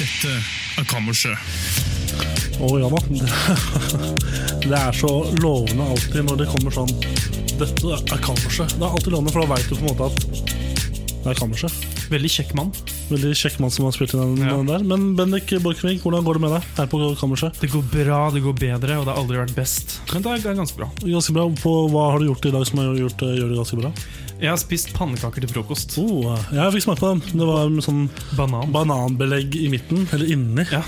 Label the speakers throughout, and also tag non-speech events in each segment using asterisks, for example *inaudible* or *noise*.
Speaker 1: Dette er kammerset.
Speaker 2: Å ja da. *laughs* Det- Det er så lovende alltid når det kommer sånn Dette er kammerset. Det er alltid lovende, for da veit du på en måte at det er kammerset.
Speaker 1: Veldig kjekk mann.
Speaker 2: Veldig kjekk mann som har spilt inn den
Speaker 1: Ja.
Speaker 2: den der. Men Bendik Borchgrevink, hvordan går det med deg her på kammerset?
Speaker 1: Det går bra, det går bedre, og det har aldri vært best. Men det er ganske bra.
Speaker 2: Ganske bra. På, hva har du gjort i dag som har gjort eh, gjør det ganske bra?
Speaker 1: Jeg har spist pannekaker til frokost.
Speaker 2: Oh, jeg fikk smake på den. Det var med sånn
Speaker 1: Banan.
Speaker 2: bananbelegg i midten, eller inni.
Speaker 1: Ja.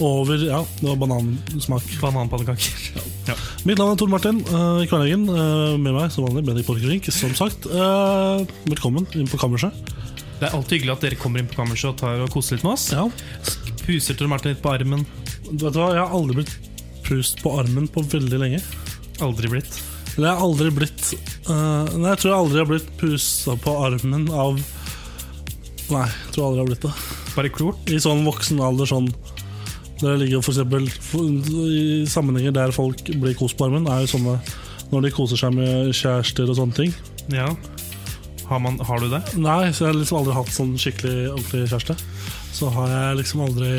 Speaker 2: Over Ja, det var banansmak.
Speaker 1: Bananpannekaker. Ja.
Speaker 2: Mitt navn er Tor Martin eh, Kverneggen. eh, med meg som vanlig Bendik Borchgrevink, som sagt. Eh, velkommen inn på kammerset.
Speaker 1: Det er alltid hyggelig at dere kommer inn på kammerset og tar og koser litt med oss.
Speaker 2: Ja.
Speaker 1: Puser til Martin litt på armen.
Speaker 2: Vet du hva, jeg har aldri blitt prust på armen på veldig lenge.
Speaker 1: Aldri blitt.
Speaker 2: Eller jeg har aldri blitt eh, Nei, jeg tror jeg aldri har blitt pusta på armen av Nei, jeg tror jeg aldri jeg har blitt det.
Speaker 1: Bare klort.
Speaker 2: I sånn voksen alder sånn Der jeg ligger for eksempel for- I sammenhenger der folk blir kost på armen, er jo sånne når de koser seg med kjærester og sånne ting.
Speaker 1: Ja. Har, man, har du det?
Speaker 2: Nei, så jeg har liksom aldri hatt sånn skikkelig ordentlig kjæreste. Så har jeg liksom aldri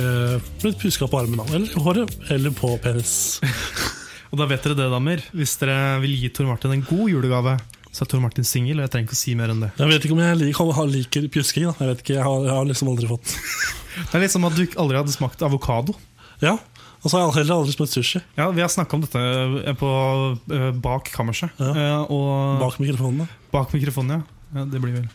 Speaker 2: blitt puska på armen, da. Eller i håret, eller på penis.
Speaker 1: Og da vet dere det, damer. Hvis dere vil gi Tor Martin en god julegave, så er Tor Martin singel, og jeg trenger ikke å si mer enn det.
Speaker 2: Jeg vet ikke om jeg liker, har- liker pjusking. da Jeg vet ikke, jeg har, jeg har liksom aldri fått
Speaker 1: Det er litt som at du aldri hadde smakt avokado.
Speaker 2: Ja, Og så har jeg heller aldri spist sushi
Speaker 1: Ja, Vi har snakka om dette eh, på, eh, bak kammerset. eh, og-
Speaker 2: bak mikrofonene.
Speaker 1: Bak mikrofonen, ja. ja det blir vel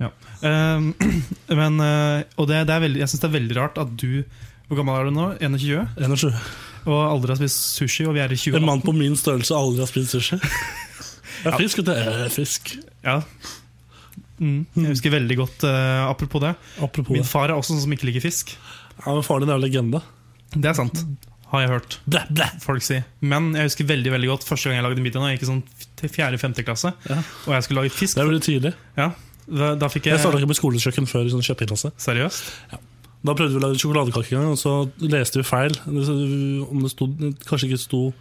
Speaker 1: ja. Ehm, *clears throat* men, eh, og det, det er veldig, jeg syns det er veldig rart at du Hvor gammel er du nå? 21?
Speaker 2: 21.
Speaker 1: Og aldri har spist sushi, og vi er i
Speaker 2: En
Speaker 1: 20
Speaker 2: mann på min størrelse aldri har spist sushi. Jeg er frisk, gutter. Jeg er frisk.
Speaker 1: ja. mm, Jeg husker veldig godt eh, apropos det.
Speaker 2: Apropos
Speaker 1: Min
Speaker 2: det.
Speaker 1: far er også sånn som ikke liker fisk.
Speaker 2: Ja, men Faren din er jo legende.
Speaker 1: Det er sant, har jeg hørt
Speaker 2: Blæ, blæ.
Speaker 1: folk si. Men jeg husker veldig veldig godt første gang jeg lagde middag. da Jeg gikk i sånn til 4.-5. klasse,
Speaker 2: Ja.
Speaker 1: og jeg skulle lage
Speaker 2: Det
Speaker 1: fisk.
Speaker 2: er veldig tidlig.
Speaker 1: Ja, da, da fikk
Speaker 2: Jeg starta
Speaker 1: jeg
Speaker 2: ikke med skolekjøkken før i sånn sjette klasse.
Speaker 1: Seriøst?
Speaker 2: Da prøvde vi å lage sjokoladekake en gang, og så leste vi feil. Det- Om det stod, kanskje ikke stod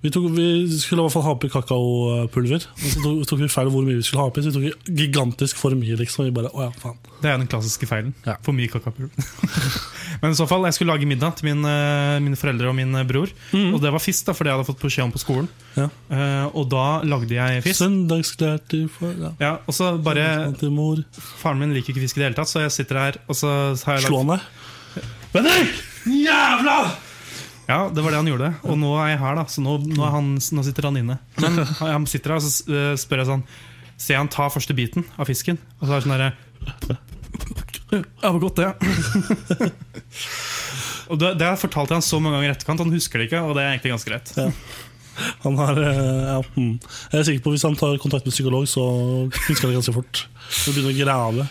Speaker 2: vi, tok, vi skulle i hvert fall ha oppi kakaopulver, og så tok, tok vi feil hvor mye vi skulle ha oppi. Så vi tok gigantisk for mye, liksom. Vi bare, å ja, faen
Speaker 1: Det er den klassiske feilen.
Speaker 2: Ja.
Speaker 1: For mye kakapulver. *laughs* Men i så fall, jeg skulle lage middag til min, eh, mine foreldre og min eh, bror. Og det var fisk, da, for det hadde jeg fått beskjed om på skolen.
Speaker 2: Mhm. Ja.
Speaker 1: Eh, og da lagde jeg fisk.
Speaker 2: Søndagsklær til far ja.
Speaker 1: Ja, og så bare,
Speaker 2: Søndagsklær til mor.
Speaker 1: Faren min liker ikke fisk i det hele tatt, så jeg sitter her og så har jeg
Speaker 2: Slå han
Speaker 1: lagd
Speaker 2: deg. Bendik! Jævla!
Speaker 1: Ja, det var det han gjorde. Og nå er jeg her, da, så nå, nå, er han, nå sitter han inne. *laughs* Men han sitter her, og så eh, spør jeg sånn Ser jeg han ta første biten av fisken? Og så er det sånn herre Ja, hvor godt det er. *laughs* og det, det fortalte jeg han så mange ganger i etterkant. Han husker det ikke, og det er egentlig ganske greit.
Speaker 2: Han har, eh, ja, hmm. Jeg er sikker på at hvis han tar kontakt med psykolog, så husker han det ganske fort. Og begynner å grave.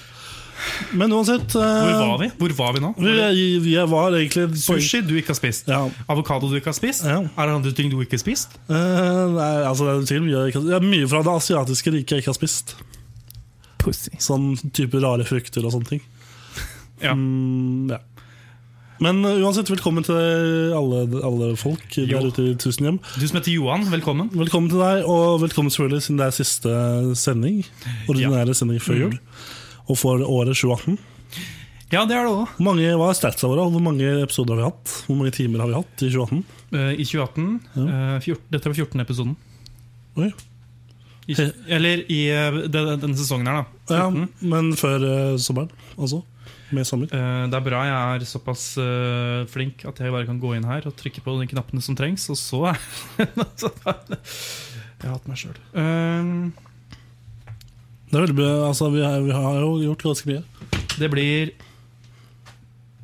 Speaker 2: Men uansett eh,
Speaker 1: Hvor var vi? Hvor var vi nå?
Speaker 2: Vi, vi, jeg var egentlig
Speaker 1: Sushi du ikke har spist.
Speaker 2: Ja.
Speaker 1: Avokado du ikke har spist.
Speaker 2: Ja.
Speaker 1: Er det andre ting du ikke har spist?
Speaker 2: Eh, nei, altså det er, sikkert mye, jeg ikke, det er mye fra det asiatiske riket jeg ikke har spist.
Speaker 1: Pussy.
Speaker 2: Sånn type rare frukter og sånne ting.
Speaker 1: *laughs* Ja.
Speaker 2: Mm, ja. Men eh, uansett, velkommen til alle, alle folk der
Speaker 1: Jo.
Speaker 2: ute i tusen hjem.
Speaker 1: Du som heter Johan, velkommen.
Speaker 2: Velkommen til deg, og velkommen selvfølgelig siden det er siste sending. Ordinære sending før
Speaker 1: Mm.
Speaker 2: jul. Og for året 2018.
Speaker 1: Ja, det er det òg.
Speaker 2: Hvor mange, hva er statsa våre? Hvor mange episoder har vi hatt? Hvor mange timer har vi hatt i 2018?
Speaker 1: I 2018. eh, fjort- dette var 14. episoden.
Speaker 2: Oi.
Speaker 1: I, eller i eh, den, denne sesongen her, da.
Speaker 2: Ja,
Speaker 1: 14.
Speaker 2: men før eh, sommeren, altså. Med sommer.
Speaker 1: Eh, det er bra jeg er såpass eh, flink at jeg bare kan gå inn her og trykke på de knappene som trengs, og så er *laughs* så er det- Jeg hater meg Eh, sjøl.
Speaker 2: Det er veldig bra. Altså, vi, har, vi har jo gjort ganske mye.
Speaker 1: det blir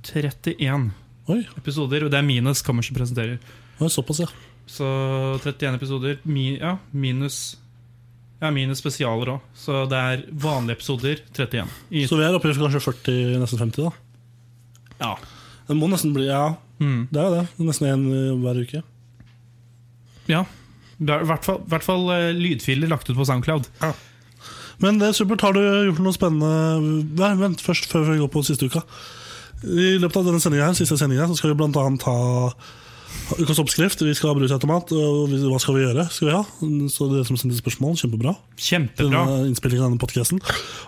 Speaker 1: 31
Speaker 2: Oi,
Speaker 1: episoder, og det er minus Kammerset presenterer.
Speaker 2: det var såpass, ja.
Speaker 1: Så 31 episoder mi, ja, minus Jeg har mine spesialer òg. Så det er vanlige episoder 31. I,
Speaker 2: Så vi er oppe i kanskje 40, nesten 50, da.
Speaker 1: ja.
Speaker 2: Det må nesten bli Ja,
Speaker 1: Mm.
Speaker 2: det er jo det. Det er Nesten én hver uke.
Speaker 1: ja. Det er I hvert fall, i hvert fall eh, lydfiler lagt ut på SoundCloud.
Speaker 2: Men det er supert. Har du gjort noe spennende Nei, vent først, før vi går på siste uka. I løpet av denne sendingen her, siste sendingen, så skal vi blant annet ha ukas oppskrift. Vi skal ha brusautomat. Og vi- hva skal vi gjøre? Skal vi ha? Så dere som sendte spørsmål, kjempebra.
Speaker 1: Kjempebra.
Speaker 2: Denne innspillingen av denne podcasten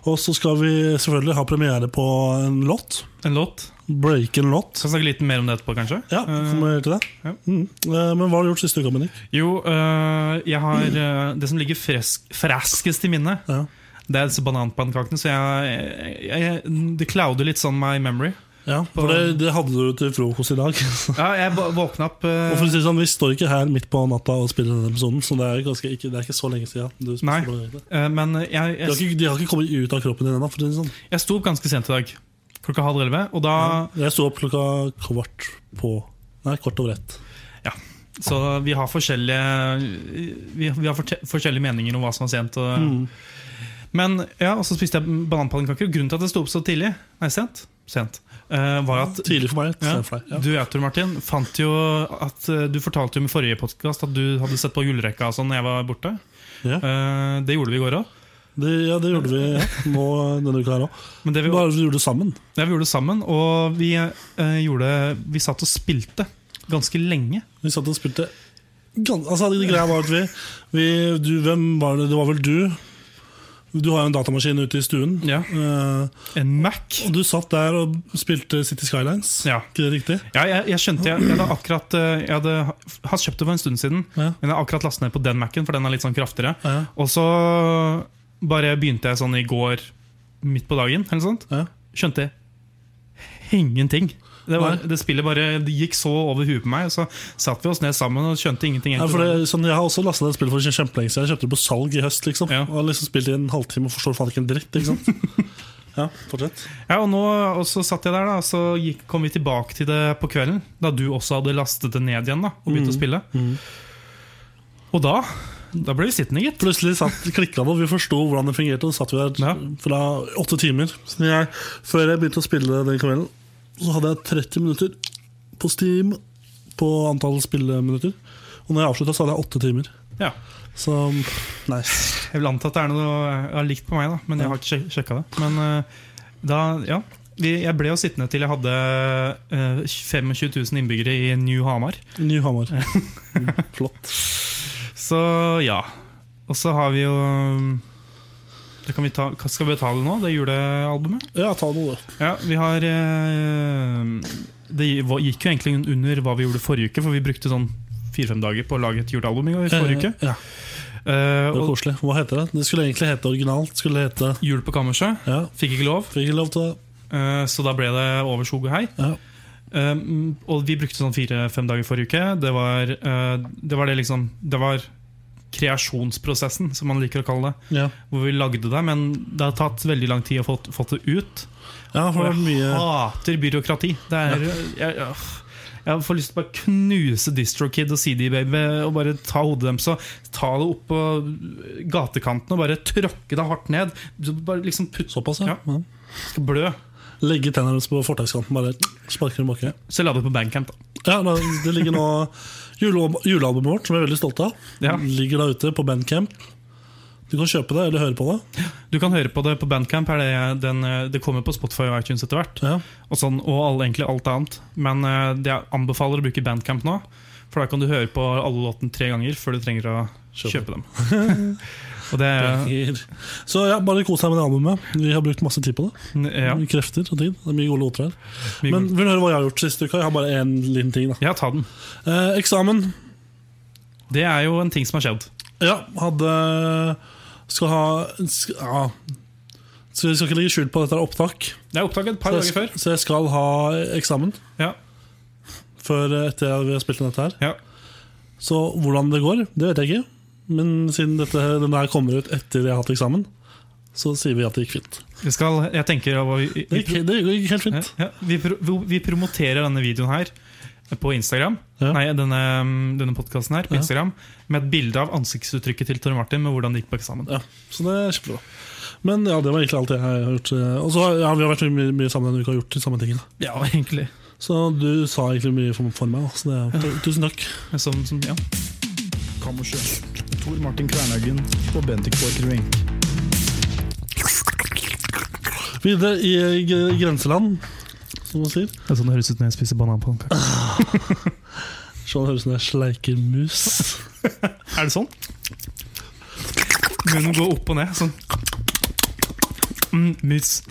Speaker 2: Og så skal vi selvfølgelig ha premiere på en låt.
Speaker 1: En låt.
Speaker 2: Break en låt.
Speaker 1: Skal snakke litt mer om det etterpå, kanskje.
Speaker 2: Ja, kommer vi til det.
Speaker 1: Eh, ja.
Speaker 2: Mm. Eh, Men hva har du gjort siste uka, Bendik?
Speaker 1: Jo, øh, jeg har øh, Det som ligger fresk, freskest i minnet,
Speaker 2: Ja.
Speaker 1: det er disse bananpannekakene. Så jeg, jeg, jeg Det clouder litt sånn my memory.
Speaker 2: Ja, for det, det hadde du til frokost i dag. *laughs* Og
Speaker 1: Ja, jeg vå- våkna opp øh,
Speaker 2: for å si det sånn, Vi står ikke her midt på natta og spiller denne episoden, så det er, jo ganske, ikke, det er ikke så lenge siden. Du spiste
Speaker 1: Nei.
Speaker 2: bananpannekaker.
Speaker 1: øh, Men jeg,
Speaker 2: De har,
Speaker 1: jeg,
Speaker 2: ikke, de har ikke kommet ut av kroppen din ennå. for å si det Sånn.
Speaker 1: jeg sto opp ganske sent i dag. Klokka halv elleve. Og da
Speaker 2: Jeg sto opp klokka kvart på Nei, kvart over ett.
Speaker 1: Så vi har forskjellige Vi, vi har forte- forskjellige meninger om hva som var sent. Og,
Speaker 2: Mm.
Speaker 1: Men ja, og så spiste jeg bananpannekaker. Og grunnen til at jeg sto opp så tidlig, nei, sent, sent øh, var at
Speaker 2: Tidlig for meg.
Speaker 1: Ja.
Speaker 2: Ja. For deg. Ja.
Speaker 1: Du vet jo, Martin, fant jo at eh, du fortalte jo med forrige podcast at du hadde sett på gullrekka og sånn når jeg var borte.
Speaker 2: Ja.
Speaker 1: Eh, det gjorde vi i går òg.
Speaker 2: Det, ja, det gjorde vi ja.
Speaker 1: *laughs*
Speaker 2: nå denne uka her òg.
Speaker 1: Men det vi,
Speaker 2: Bare vi gjorde det sammen.
Speaker 1: det vi gjorde sammen, og vi, eh, gjorde, vi satt og spilte ganske lenge.
Speaker 2: Vi satt og spilte gan- Altså, det greia var at vi, vi du, Hvem var det? Det var vel du? Du har jo en datamaskin ute i stuen.
Speaker 1: Ja.
Speaker 2: Eh,
Speaker 1: En Mac.
Speaker 2: og du satt der og spilte City Skylines.
Speaker 1: Ja.
Speaker 2: Ikke det riktig?
Speaker 1: Ja, jeg, jeg skjønte jeg, jeg hadde akkurat eh, Jeg hadde ha- har kjøpt det for en stund siden,
Speaker 2: Ja.
Speaker 1: men jeg har akkurat lastet ned på den Mac-en, for den er litt sånn kraftigere.
Speaker 2: Ja.
Speaker 1: Og så bare begynte jeg sånn i går midt på dagen, eller sånt.
Speaker 2: Ja.
Speaker 1: skjønte jeg ingenting. Det, var,
Speaker 2: Nei.
Speaker 1: det spillet bare det gikk så over huet på meg, og så satt vi oss ned sammen og skjønte ingenting.
Speaker 2: Ja, for
Speaker 1: egentlig.
Speaker 2: det, sånn, jeg har også lastet ned et spill for kjempelenge siden. Jeg kjøpte det på salg i høst. liksom
Speaker 1: Ja.
Speaker 2: Og har liksom spilt i en halvtime og forstår faen ikke en dritt. ikke sant?
Speaker 1: *laughs*
Speaker 2: ja, fortsett.
Speaker 1: Ja, og, nå, og så satt jeg der, da, og så gikk, kom vi tilbake til det på kvelden, da du også hadde lastet det ned igjen da, og begynt
Speaker 2: Mm.
Speaker 1: å spille. Og da da ble vi sittende, gitt.
Speaker 2: Plutselig satt klikka det, og vi forsto hvordan det fungerte. Og så satt vi der
Speaker 1: Ja.
Speaker 2: fra åtte timer. Så jeg, før jeg begynte å spille den kvelden, så hadde jeg 30 minutter på Steam på antall spilleminutter. Og når jeg avslutta, så hadde jeg åtte timer.
Speaker 1: Ja.
Speaker 2: Så nice.
Speaker 1: Jeg vil anta at det er noe jeg har likt på meg, da, men jeg har ikke sjekka det. Men eh, da, ja vi, Jeg ble jo sittende til jeg hadde eh, 25 000 innbyggere i New Hamar.
Speaker 2: Ny Hamar. Mm, Flott.
Speaker 1: Så ja. Og så har vi jo det kan vi ta, Hva skal vi betale nå? Det julealbumet?
Speaker 2: Ja, ta noe, du.
Speaker 1: Ja, vi har eh, Det gikk jo egentlig under hva vi gjorde forrige uke, for vi brukte sånn fire-fem dager på å lage et julealbum i forrige uke.
Speaker 2: Ja,
Speaker 1: Eh,
Speaker 2: det var
Speaker 1: og
Speaker 2: koselig. Hva heter det? Det skulle egentlig hete originalt. Skulle hete
Speaker 1: Jul på kammerset.
Speaker 2: Ja,
Speaker 1: Fikk ikke lov,
Speaker 2: Fikk ikke lov til det.
Speaker 1: eh, så da ble det over skog og hei.
Speaker 2: Ja.
Speaker 1: Um, og vi brukte sånn fire-fem dager forrige uke. Det var, eh, det var det liksom Det var kreasjonsprosessen, som man liker å kalle det.
Speaker 2: Ja.
Speaker 1: Hvor vi lagde det, men det har tatt veldig lang tid å få fått det ut.
Speaker 2: ja, for det er
Speaker 1: Og jeg
Speaker 2: mye
Speaker 1: hater byråkrati. Det er jeg, jeg, jeg får lyst til å bare knuse DistroKid og CD Baby og bare ta hodet deres og ta det opp på gatekanten og bare tråkke det hardt ned. Så Bare liksom putte
Speaker 2: Såpass, ja.
Speaker 1: Ja. skal blø.
Speaker 2: Legge tennene på fortauskanten, bare sparke dem bakover.
Speaker 1: Så la det på Bandcamp, da.
Speaker 2: Ja, da, det ligger nå jule- Julealbumet vårt, som jeg er veldig stolt av,
Speaker 1: Ja.
Speaker 2: ligger da ute på Bandcamp. Du kan kjøpe det eller høre på det.
Speaker 1: Du kan høre på det på Bandcamp. Er det, den, eh, det kommer på Spotify og iTunes etter hvert.
Speaker 2: Ja.
Speaker 1: Og, sånn, og all, egentlig alt annet. Men eh, det jeg anbefaler å bruke Bandcamp nå. For da kan du høre på alle låtene tre ganger før du trenger å
Speaker 2: Kjøpe.
Speaker 1: kjøpe dem. *laughs* og det
Speaker 2: Så ja, bare kos deg med det albumet. Vi har brukt masse tid på det.
Speaker 1: Ja,
Speaker 2: Mye Krefter og tid. Det er mye gode låter her.
Speaker 1: mye
Speaker 2: Men
Speaker 1: god-
Speaker 2: vil du høre hva jeg har gjort sist uke? Jeg har bare én liten ting. da
Speaker 1: ja ta den.
Speaker 2: eh, Eksamen.
Speaker 1: Det er jo en ting som har skjedd.
Speaker 2: Ja, hadde Skal ha sk- Ja. Så vi skal ikke legge skjul på at dette er opptak.
Speaker 1: Det er opptaket et par
Speaker 2: Så
Speaker 1: dager
Speaker 2: jeg,
Speaker 1: før.
Speaker 2: så jeg skal ha eksamen
Speaker 1: Ja,
Speaker 2: før eh, etter at vi har spilt inn dette her.
Speaker 1: ja.
Speaker 2: Så hvordan det går, det vet jeg ikke. Men siden dette, denne her kommer ut etter jeg har hatt eksamen, så sier vi at det gikk fint.
Speaker 1: Vi skal, jeg tenker å- vi,
Speaker 2: Det
Speaker 1: vi,
Speaker 2: gikk, det gikk helt
Speaker 1: ja,
Speaker 2: fint.
Speaker 1: ja, vi, pro- vi promoterer denne videoen her på Instagram
Speaker 2: Ja.
Speaker 1: Nei, denne, mm, denne podkasten her på
Speaker 2: Ja.
Speaker 1: Instagram med et bilde av ansiktsuttrykket til Tore Martin med hvordan det gikk på eksamen.
Speaker 2: Ja, så det er kjempebra. Men ja, det var egentlig alt jeg har gjort. eh, Og så har ja, vi har vært mye, mye sammen denne uka og gjort de samme tingene.
Speaker 1: Ja, egentlig.
Speaker 2: Så du sa egentlig mye for, for meg. da, Så det, er- Tusen takk.
Speaker 1: Som, som, sånn, ja.
Speaker 3: Kammerset. Tor Martin Kvernhaugen og Bendik Borchgrevink.
Speaker 2: Videre i g- grenseland, som man sier.
Speaker 1: Det er sånn det høres ut når jeg spiser bananpannkake.
Speaker 2: Sånn høres det ut som jeg sleiker mus.
Speaker 1: Er det sånn? Munnen går opp og ned, sånn. Mm, mus.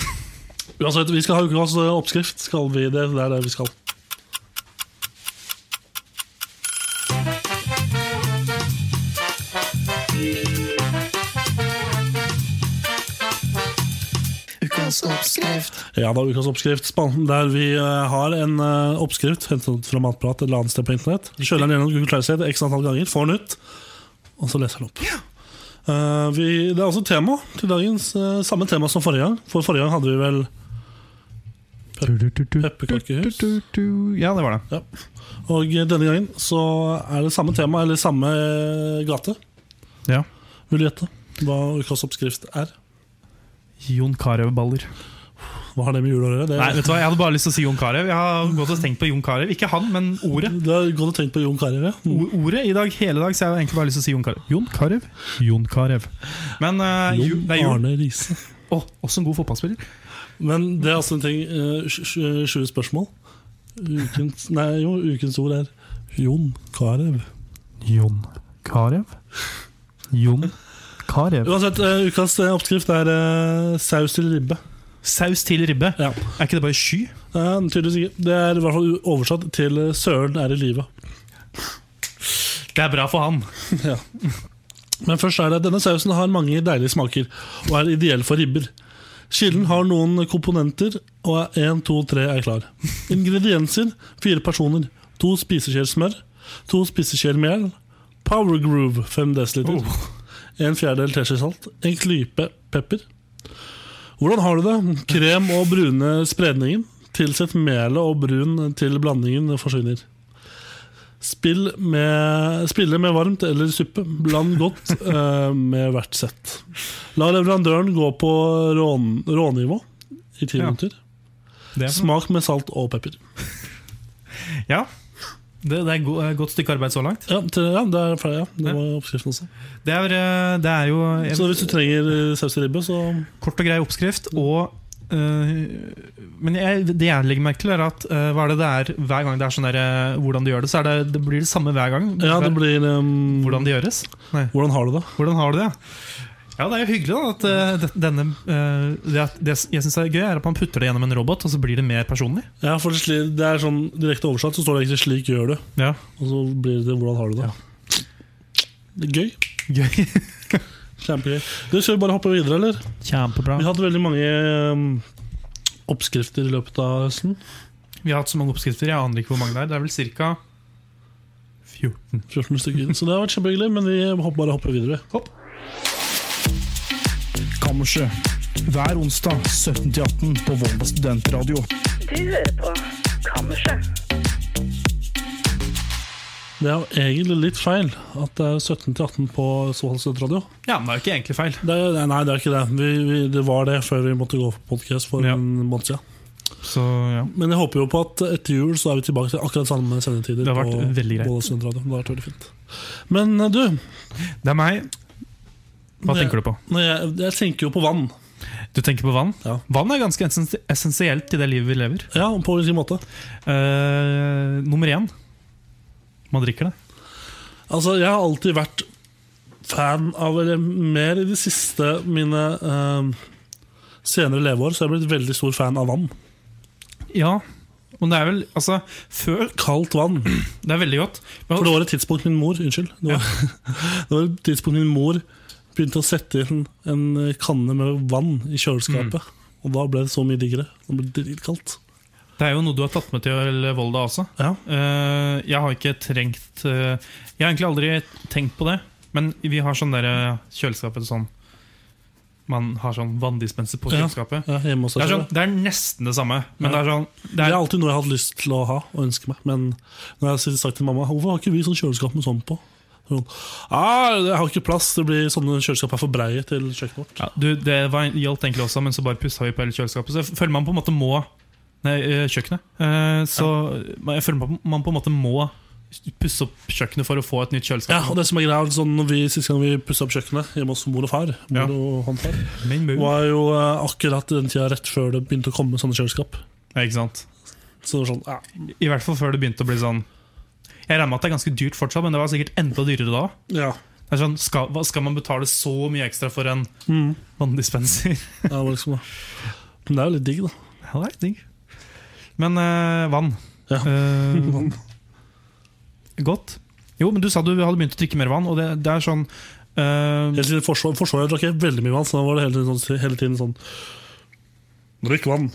Speaker 2: Uansett, vi skal ha ukas eh, oppskrift. Skal vi det? Det er det vi skal.
Speaker 4: Ukas oppskrift.
Speaker 2: Ja, da ukas oppskrift. Spalten der vi eh, har en eh, oppskrift hentet fra Matprat et eller annet sted på internett. Kjøler den gjennom Google Translate x antall ganger, får den ut, og så leser den opp. Eh, vi, det er også tema til dagens. eh, samme tema som forrige gang. For forrige gang hadde vi vel pepperkakehus.
Speaker 1: Ja, det var det.
Speaker 2: Og denne gangen så er det samme tema, eller samme eh, gate.
Speaker 1: Ja.
Speaker 2: Vil du gjette hva ukas oppskrift er?
Speaker 1: Jon Carew-baller.
Speaker 2: Hva har det med jul å gjøre? Det,
Speaker 1: Nei, vet du hva, Jeg hadde bare lyst til å si Jon Carew. Jeg har gått og tenkt på Jon Carew. Ikke han, men ordet.
Speaker 2: det er godt å tenke på Jon Carew. ja.
Speaker 1: O- Ordet i dag, hele dag, så jeg har egentlig bare lyst til å si Jon Carew. Jon Carew. Jon Carew. Men eh, ju,
Speaker 2: Jon
Speaker 1: det er jul.
Speaker 2: Arne Riise.
Speaker 1: Å, også en god fotballspiller.
Speaker 2: Men det er altså en ting eh, sj- sj- Sju spørsmål. Ukens, nei, jo, ukens ord er Jon Carew.
Speaker 1: Jon Carew. Jon Carew.
Speaker 2: Uansett, eh, ukas eh, oppskrift er eh, saus til ribbe.
Speaker 1: Saus til ribbe.
Speaker 2: Ja.
Speaker 1: Er ikke det bare sky?
Speaker 2: Eh, tydeligvis ikke. Det er i hvert fall u- oversatt til eh, 'Søren er i live'.
Speaker 1: Det er bra for han.
Speaker 2: *laughs* Ja. Men først er det denne sausen har mange deilige smaker og er ideell for ribber. Kilden har noen komponenter, og er 1, 2, 3 er klar. Ingredienser fire personer. To spiseskjeer smør. To spiseskjeer mel. Power Groove 5 dl. En fjerdedel teskje salt. En klype pepper. Hvordan har du det? Krem og brune spredningen. Tilsett melet og brun til blandingen forsvinner. Spill med, spille med varmt eller suppe. Bland
Speaker 1: *laughs*
Speaker 2: godt eh, med hvert sett. La leverandøren gå på rån- rånivå i ti
Speaker 1: Ja.
Speaker 2: minutter.
Speaker 1: Det er,
Speaker 2: Smak med salt og pepper.
Speaker 1: ja. det, det er go eh, godt stykke arbeid så langt.
Speaker 2: Ja, til, ja det er ferdig. Ja.
Speaker 1: Ja.
Speaker 2: Det var oppskriften også.
Speaker 1: Det er, eh, det er jo en
Speaker 2: Så hvis du trenger eh, saus til ribbe, så
Speaker 1: kort og grei oppskrift. Og, eh, men jeg, det jeg legger merke til, er at eh, hva er det det er hver gang det er sånn der, eh, hvordan du gjør det, så er det, det blir det samme hver gang.
Speaker 2: Ja, det blir eh,
Speaker 1: Hvordan det gjøres.
Speaker 2: hvordan har du det?
Speaker 1: Hvordan har du det? Ja, det er jo hyggelig da, at eh, det- denne eh, det, at- det jeg syns er gøy, er at man putter det gjennom en robot, og så blir det mer personlig.
Speaker 2: Ja, for det sli- det er sånn Direkte oversatt så står det egentlig 'slik gjør du',
Speaker 1: Ja,
Speaker 2: og så blir det 'hvordan har du det'. Det er Gøy.
Speaker 1: Gøy.
Speaker 2: Kjempegøy. Du, Skal vi bare hoppe videre, eller?
Speaker 1: Kjempebra.
Speaker 2: Vi har hatt veldig mange ehm, oppskrifter i løpet av høsten.
Speaker 1: Vi har hatt så mange oppskrifter, jeg aner ikke hvor mange det er. Det er vel ca. 14.
Speaker 2: 14 stykker. Så det har vært kjempehyggelig, men vi hopper bare hopper videre.
Speaker 1: Hopp.
Speaker 3: Kammerset. Hver onsdag 17-18 på Volda studentradio.
Speaker 5: Du hører på Kammerset.
Speaker 2: Det er jo egentlig litt feil at det er 17 til 18 på Svolvær studentradio.
Speaker 1: Ja, men det er jo ikke egentlig feil.
Speaker 2: Det er, nei, det er ikke det. Vi, vi, det var det før vi måtte gå på podkast for
Speaker 1: Ja.
Speaker 2: en måned siden.
Speaker 1: Så ja.
Speaker 2: Men jeg håper jo på at etter jul så er vi tilbake til akkurat samme sendetider.
Speaker 1: Det har vært
Speaker 2: på
Speaker 1: veldig greit.
Speaker 2: Volda studentradio. Det har vært veldig fint. Men eh, du,
Speaker 1: Det er meg. Hva
Speaker 2: Det-
Speaker 1: tenker du på?
Speaker 2: når jeg, jeg tenker jo på vann.
Speaker 1: Du tenker på vann?
Speaker 2: Ja.
Speaker 1: Vann er ganske essensi- essensielt i det livet vi lever.
Speaker 2: Ja, På hvilken måte?
Speaker 1: Eh, nummer én man drikker det.
Speaker 2: Altså, jeg har alltid vært fan av, eller mer i de siste mine eh, senere leveår, så jeg har blitt veldig stor fan av vann.
Speaker 1: Ja. Men det er vel altså, før
Speaker 2: Kaldt vann.
Speaker 1: Det er veldig godt. Men,
Speaker 2: For det var et tidspunkt min mor Unnskyld. Det var, *laughs* det var et tidspunkt min mor begynte å sette inn en kanne med vann i kjøleskapet.
Speaker 1: Mm.
Speaker 2: Og da ble det så mye diggere. Det ble dritkaldt.
Speaker 1: Det er jo noe du har tatt med til Volda også.
Speaker 2: Ja.
Speaker 1: Eh, jeg har ikke trengt eh, Jeg har egentlig aldri tenkt på det, men vi har sånn der eh, kjøleskapet sånn man har sånn vanndispenser på
Speaker 2: Ja.
Speaker 1: kjøleskapet.
Speaker 2: Ja, hjemme hos
Speaker 1: Det
Speaker 2: deg
Speaker 1: er,
Speaker 2: selv.
Speaker 1: sånn, det er nesten det samme, men
Speaker 2: Ja.
Speaker 1: det er sånn
Speaker 2: Det
Speaker 1: det
Speaker 2: er
Speaker 1: er,
Speaker 2: alltid noe jeg hadde lyst til å ha og ønske meg. Men når jeg har sagt til mamma Hvorfor har ikke vi sånn kjøleskap med sånn på? Så hun, ah, jeg har ikke plass, det blir sånne kjøleskap er for breie til kjøkkenet vårt.
Speaker 1: ja, du, Det var, gjaldt egentlig også, men så bare pussa vi på hele kjøleskapet. Så jeg føler man på en måte må Nei, eh, kjøkkenet. Eh, Så man- jeg føler man på- man på en måte må pusse opp kjøkkenet for å få et nytt
Speaker 2: Ja,
Speaker 1: kjøleskap.
Speaker 2: og det som er greia er sånn, når vi, Sist gang vi pussa opp kjøkkenet hjemme hos mor og far, mor
Speaker 1: Ja.
Speaker 2: og han far
Speaker 1: Min mor.
Speaker 2: var jo eh, akkurat den tida rett før det begynte å komme sånne kjøleskap.
Speaker 1: Ja, ikke sant?
Speaker 2: Så det var sånn, ja,
Speaker 1: I hvert fall før det begynte å bli sånn Jeg regner med at det er ganske dyrt fortsatt, men det var sikkert enda dyrere da.
Speaker 2: ja,
Speaker 1: Det er sånn, skal, hva- skal man betale så mye ekstra for en
Speaker 2: Mm.
Speaker 1: vanndispenser?
Speaker 2: ja det var liksom, Men det er jo litt digg, da.
Speaker 1: Ja, det er digg. Men eh, vann.
Speaker 2: Ja. *laughs*
Speaker 1: Eh, godt. Jo, men du sa du hadde begynt å drikke mer vann, og det, det er sånn eh,
Speaker 2: Helt siden forsvar, forsvaret drakk jeg veldig mye vann, så da var det hele tiden sånn, hele tiden sånn Drikk vann.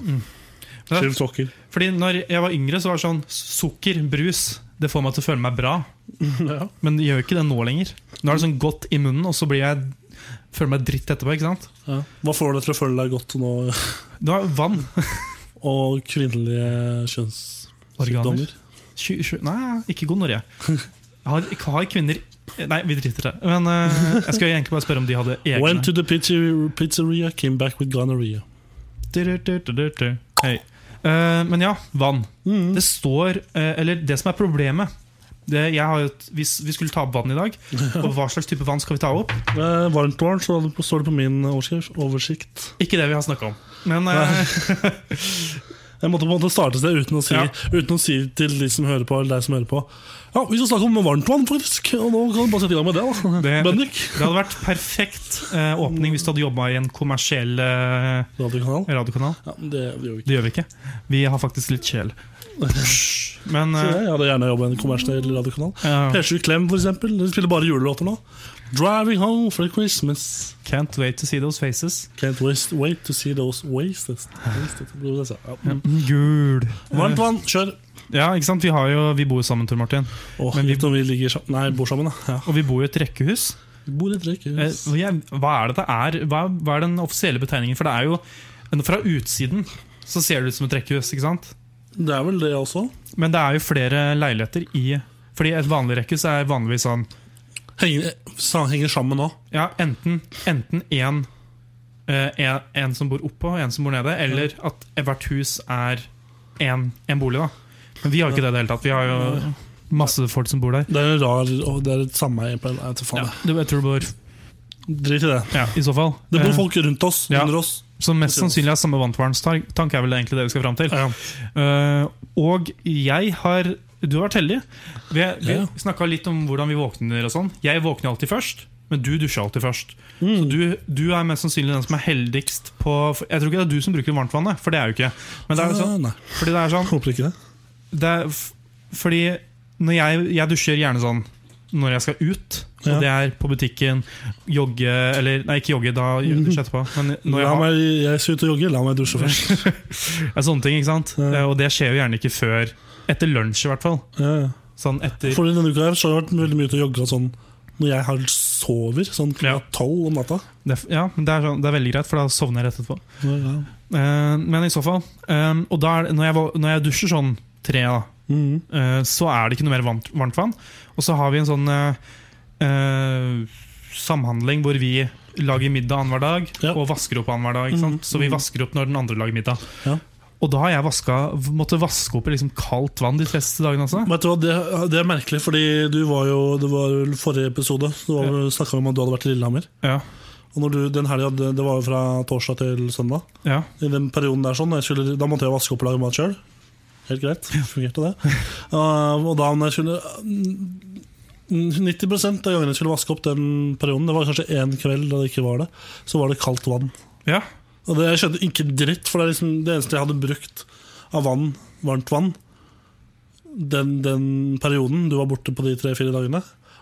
Speaker 1: Ja.
Speaker 2: Skiv sokker.
Speaker 1: Fordi når jeg var yngre, så var det sånn sukker, brus, det får meg til å føle meg bra.
Speaker 2: *laughs* Ja.
Speaker 1: Men det gjør jo ikke det nå lenger. Nå er det sånn godt i munnen, og så blir jeg, føler jeg meg dritt etterpå. ikke sant?
Speaker 2: Ja. Hva får deg til å føle deg godt nå? *laughs*
Speaker 1: Du har vann.
Speaker 2: Og kvinnelige kjønnssykdommer.
Speaker 1: Organer. Sju- sju- Nei, ikke gonoré. Har, har kvinner Nei, vi driter i det. Men eh, jeg skal egentlig bare spørre om de hadde egne
Speaker 2: Went to the pizzer- pizzeria, came back with gonorrhea.
Speaker 1: Du-du-du-du-du. Hei. Eh, men ja, vann. Det står eh, Eller det som er problemet det, jeg har jo et, vi, s- vi skulle ta opp vann i dag. Og hva slags type vann skal vi ta opp?
Speaker 2: Eh, varmt vann, så det- står det på min overskrift. Oversikt.
Speaker 1: Ikke det vi har snakka om. Men eh,
Speaker 2: Jeg måtte på en måte starte et sted uten å si,
Speaker 1: Ja.
Speaker 2: uten å si til de som hører på, eller deg som hører på Ja, vi skal snakke om varmt vann, faktisk! Og nå kan du bare sette i gang med det. da *laughs*
Speaker 1: Det-
Speaker 2: Bendik.
Speaker 1: det hadde vært perfekt eh, åpning hvis du hadde jobba i en kommersiell eh,
Speaker 2: Radiokanal.
Speaker 1: radiokanal.
Speaker 2: Ja, men det gjør vi ikke. *laughs*
Speaker 1: Det gjør vi ikke. Vi har faktisk litt kjel. Men
Speaker 2: Så
Speaker 1: eh,
Speaker 2: jeg hadde gjerne jobba i en kommersiell radiokanal.
Speaker 1: ja,
Speaker 2: P7 Klem, for eksempel. De spiller bare julelåter nå. 'Driving Home for Christmas'.
Speaker 1: Can't wait to see those faces.
Speaker 2: Can't waste, wait to see those wasted. wasted. Ja.
Speaker 1: Gul.
Speaker 2: Varmt vann, kjør!
Speaker 1: Ja, ikke sant? Vi, har jo, vi bor jo sammen, Tor Martin.
Speaker 2: Åh,
Speaker 1: Men vi-
Speaker 2: litt når vi ligger sammen Nei, bor sammen, da. Ja.
Speaker 1: Og vi bor i et rekkehus.
Speaker 2: Vi Bor i et
Speaker 1: Eh,
Speaker 2: rekkehus.
Speaker 1: og jeg, hva er det det er? Hva, hva er den offisielle betegningen? For det er jo eh, Fra utsiden så ser det ut som et rekkehus, ikke sant?
Speaker 2: Det er vel det også.
Speaker 1: Men det er jo flere leiligheter i Fordi et vanlig rekkehus er vanligvis sånn
Speaker 2: Henger, eh, sa- henger sammen nå.
Speaker 1: Ja, enten Enten en, eh, en, en som bor oppå, en som bor nede, eller at hvert hus er en, en bolig, da. Men vi har jo ikke det i det hele tatt. Vi har jo masse folk som bor der.
Speaker 2: Det er en rar og Det er et sameie. på en- Jeg vet ikke
Speaker 1: Ja,
Speaker 2: faen.
Speaker 1: du- jeg tror det bor
Speaker 2: Drit i det.
Speaker 1: Ja, i så fall.
Speaker 2: Det bor
Speaker 1: Eh,
Speaker 2: folk rundt oss,
Speaker 1: ja.
Speaker 2: under oss.
Speaker 1: Så mest sannsynlig er samme vanntvernstank er vel egentlig det vi skal fram til.
Speaker 2: Ja.
Speaker 1: Eh, og jeg har Du har vært heldig. Vi, vi
Speaker 2: Ja.
Speaker 1: snakka litt om hvordan vi våkner og sånn. Jeg våkner alltid først, men du dusjer alltid først.
Speaker 2: Mm.
Speaker 1: Så du, du er mest sannsynlig den som er heldigst på Jeg tror ikke det er du som bruker varmtvannet, for det er jo ikke. Men det er jo sånn,
Speaker 2: Nei,
Speaker 1: fordi det er sånn
Speaker 2: håper ikke det.
Speaker 1: det er, f- Fordi når jeg, jeg dusjer gjerne sånn når jeg skal ut, og
Speaker 2: Ja.
Speaker 1: det er på butikken, jogge Eller nei, ikke jogge, da gjør jeg
Speaker 2: Mm.
Speaker 1: dusjer etterpå. Men når
Speaker 2: La
Speaker 1: jeg har
Speaker 2: meg, jeg skal ut og jogge, la meg dusje først.
Speaker 1: Det er sånne ting, ikke sant?
Speaker 2: Ja.
Speaker 1: Eh, Og det skjer jo gjerne ikke før etter lunsj, i hvert fall.
Speaker 2: Ja. ja.
Speaker 1: Sånn etter
Speaker 2: For denne uka her så har jeg vært veldig mye ute og jogga sånn når jeg har sover, sånn
Speaker 1: Ja.
Speaker 2: klokka tolv om natta.
Speaker 1: det, er- Ja, men det er, sånn, det er veldig greit, for da sovner jeg rett etterpå.
Speaker 2: Ja, ja.
Speaker 1: Eh, men i så fall eh, Og da er, det- når, jeg, vå- når jeg dusjer sånn tre, da,
Speaker 2: Mhm.
Speaker 1: eh, så er det ikke noe mer varmt, varmt vann. Og så har vi en sånn eh, eh, samhandling hvor vi lager middag annenhver dag,
Speaker 2: Ja. Mm.
Speaker 1: og vasker opp annenhver dag. Ikke sant? Så vi vasker opp når den andre lager middag.
Speaker 2: Ja.
Speaker 1: Og da har jeg vaska, måtte vaske opp i liksom kaldt vann de fleste dagene også.
Speaker 2: Vet du hva, det, det er merkelig, fordi du var jo Det var jo forrige episode Du var, snakket om at du hadde vært i Lillehammer.
Speaker 1: Ja,
Speaker 2: Og når du, den helgen, det, det var jo fra torsdag til søndag.
Speaker 1: ja.
Speaker 2: I den perioden der sånn, når jeg skulle, Da måtte jeg vaske opp og lage mat sjøl. Helt greit. Fungerte det. Uh, og da når jeg skulle mm, 90 av gangene jeg skulle vaske opp den perioden, det var kanskje én kveld da det ikke var det, så var det kaldt vann.
Speaker 1: ja.
Speaker 2: Og det, Jeg skjønte ikke dritt, for det, er liksom det eneste jeg hadde brukt av vann, varmt vann, den, den perioden du var borte på de tre-fire dagene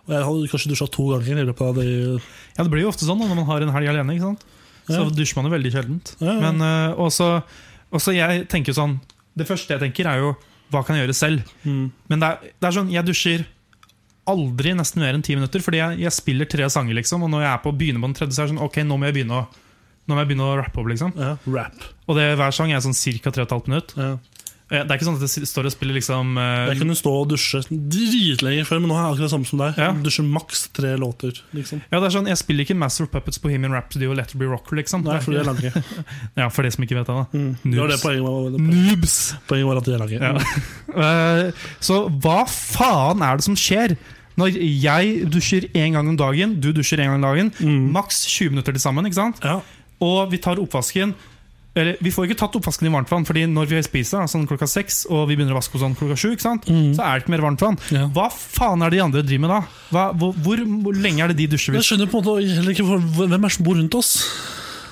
Speaker 2: Og jeg hadde kanskje dusja to ganger i løpet av de
Speaker 1: Ja, det blir jo ofte sånn da, når man har en helg alene. ikke sant? Så
Speaker 2: Ja.
Speaker 1: dusjer man jo veldig sjeldent.
Speaker 2: Ja, ja.
Speaker 1: Men eh, også, også jeg tenker jo sånn Det første jeg tenker, er jo hva kan jeg gjøre selv?
Speaker 2: mm,
Speaker 1: Men det er, det er sånn, jeg dusjer aldri nesten mer enn ti minutter, fordi jeg, jeg spiller tre sanger, liksom. Og når jeg er på å begynne på den tredje, så er det sånn Ok, nå må jeg begynne å Nå må jeg begynne å rappe opp, liksom.
Speaker 2: Ja, rap.
Speaker 1: Og det, hver sang er sånn ca. 3,5 minutt.
Speaker 2: Ja.
Speaker 1: Eh, Det er ikke sånn at jeg s- står og spiller liksom eh,
Speaker 2: Jeg kunne stå og dusje dritlenge før, men nå er jeg akkurat samme som deg.
Speaker 1: Ja.
Speaker 2: Dusjer maks tre låter. liksom
Speaker 1: Ja, det er sånn, Jeg spiller ikke Master of Puppets, Bohemian Rhapsody og Letterby Rocker, liksom.
Speaker 2: Nei, for de er
Speaker 1: *laughs*
Speaker 2: lange.
Speaker 1: Ja, for de som ikke vet det, da.
Speaker 2: Det var det
Speaker 1: Noobs.
Speaker 2: poenget var. det
Speaker 1: Noobs!
Speaker 2: Poenget var at de er lange.
Speaker 1: Ja. Eh, Så hva faen er det som skjer? Når jeg dusjer én gang om dagen, du dusjer én gang om dagen, maks 20 minutter til sammen. ikke sant?
Speaker 2: Ja.
Speaker 1: Og vi tar oppvasken eller, Vi får ikke tatt oppvasken i varmt vann, Fordi når vi spiser da, sånn klokka seks og vi begynner å vaske hos han klokka sju, ikke sant? så er det ikke mer varmt vann.
Speaker 2: Ja.
Speaker 1: Hva faen er det de andre driver med da? Hva, hvor, hvor, hvor lenge er det de dusjer?
Speaker 2: Men
Speaker 1: vi?
Speaker 2: Jeg skjønner på en måte heller ikke hvor- hvem er det som bor rundt oss.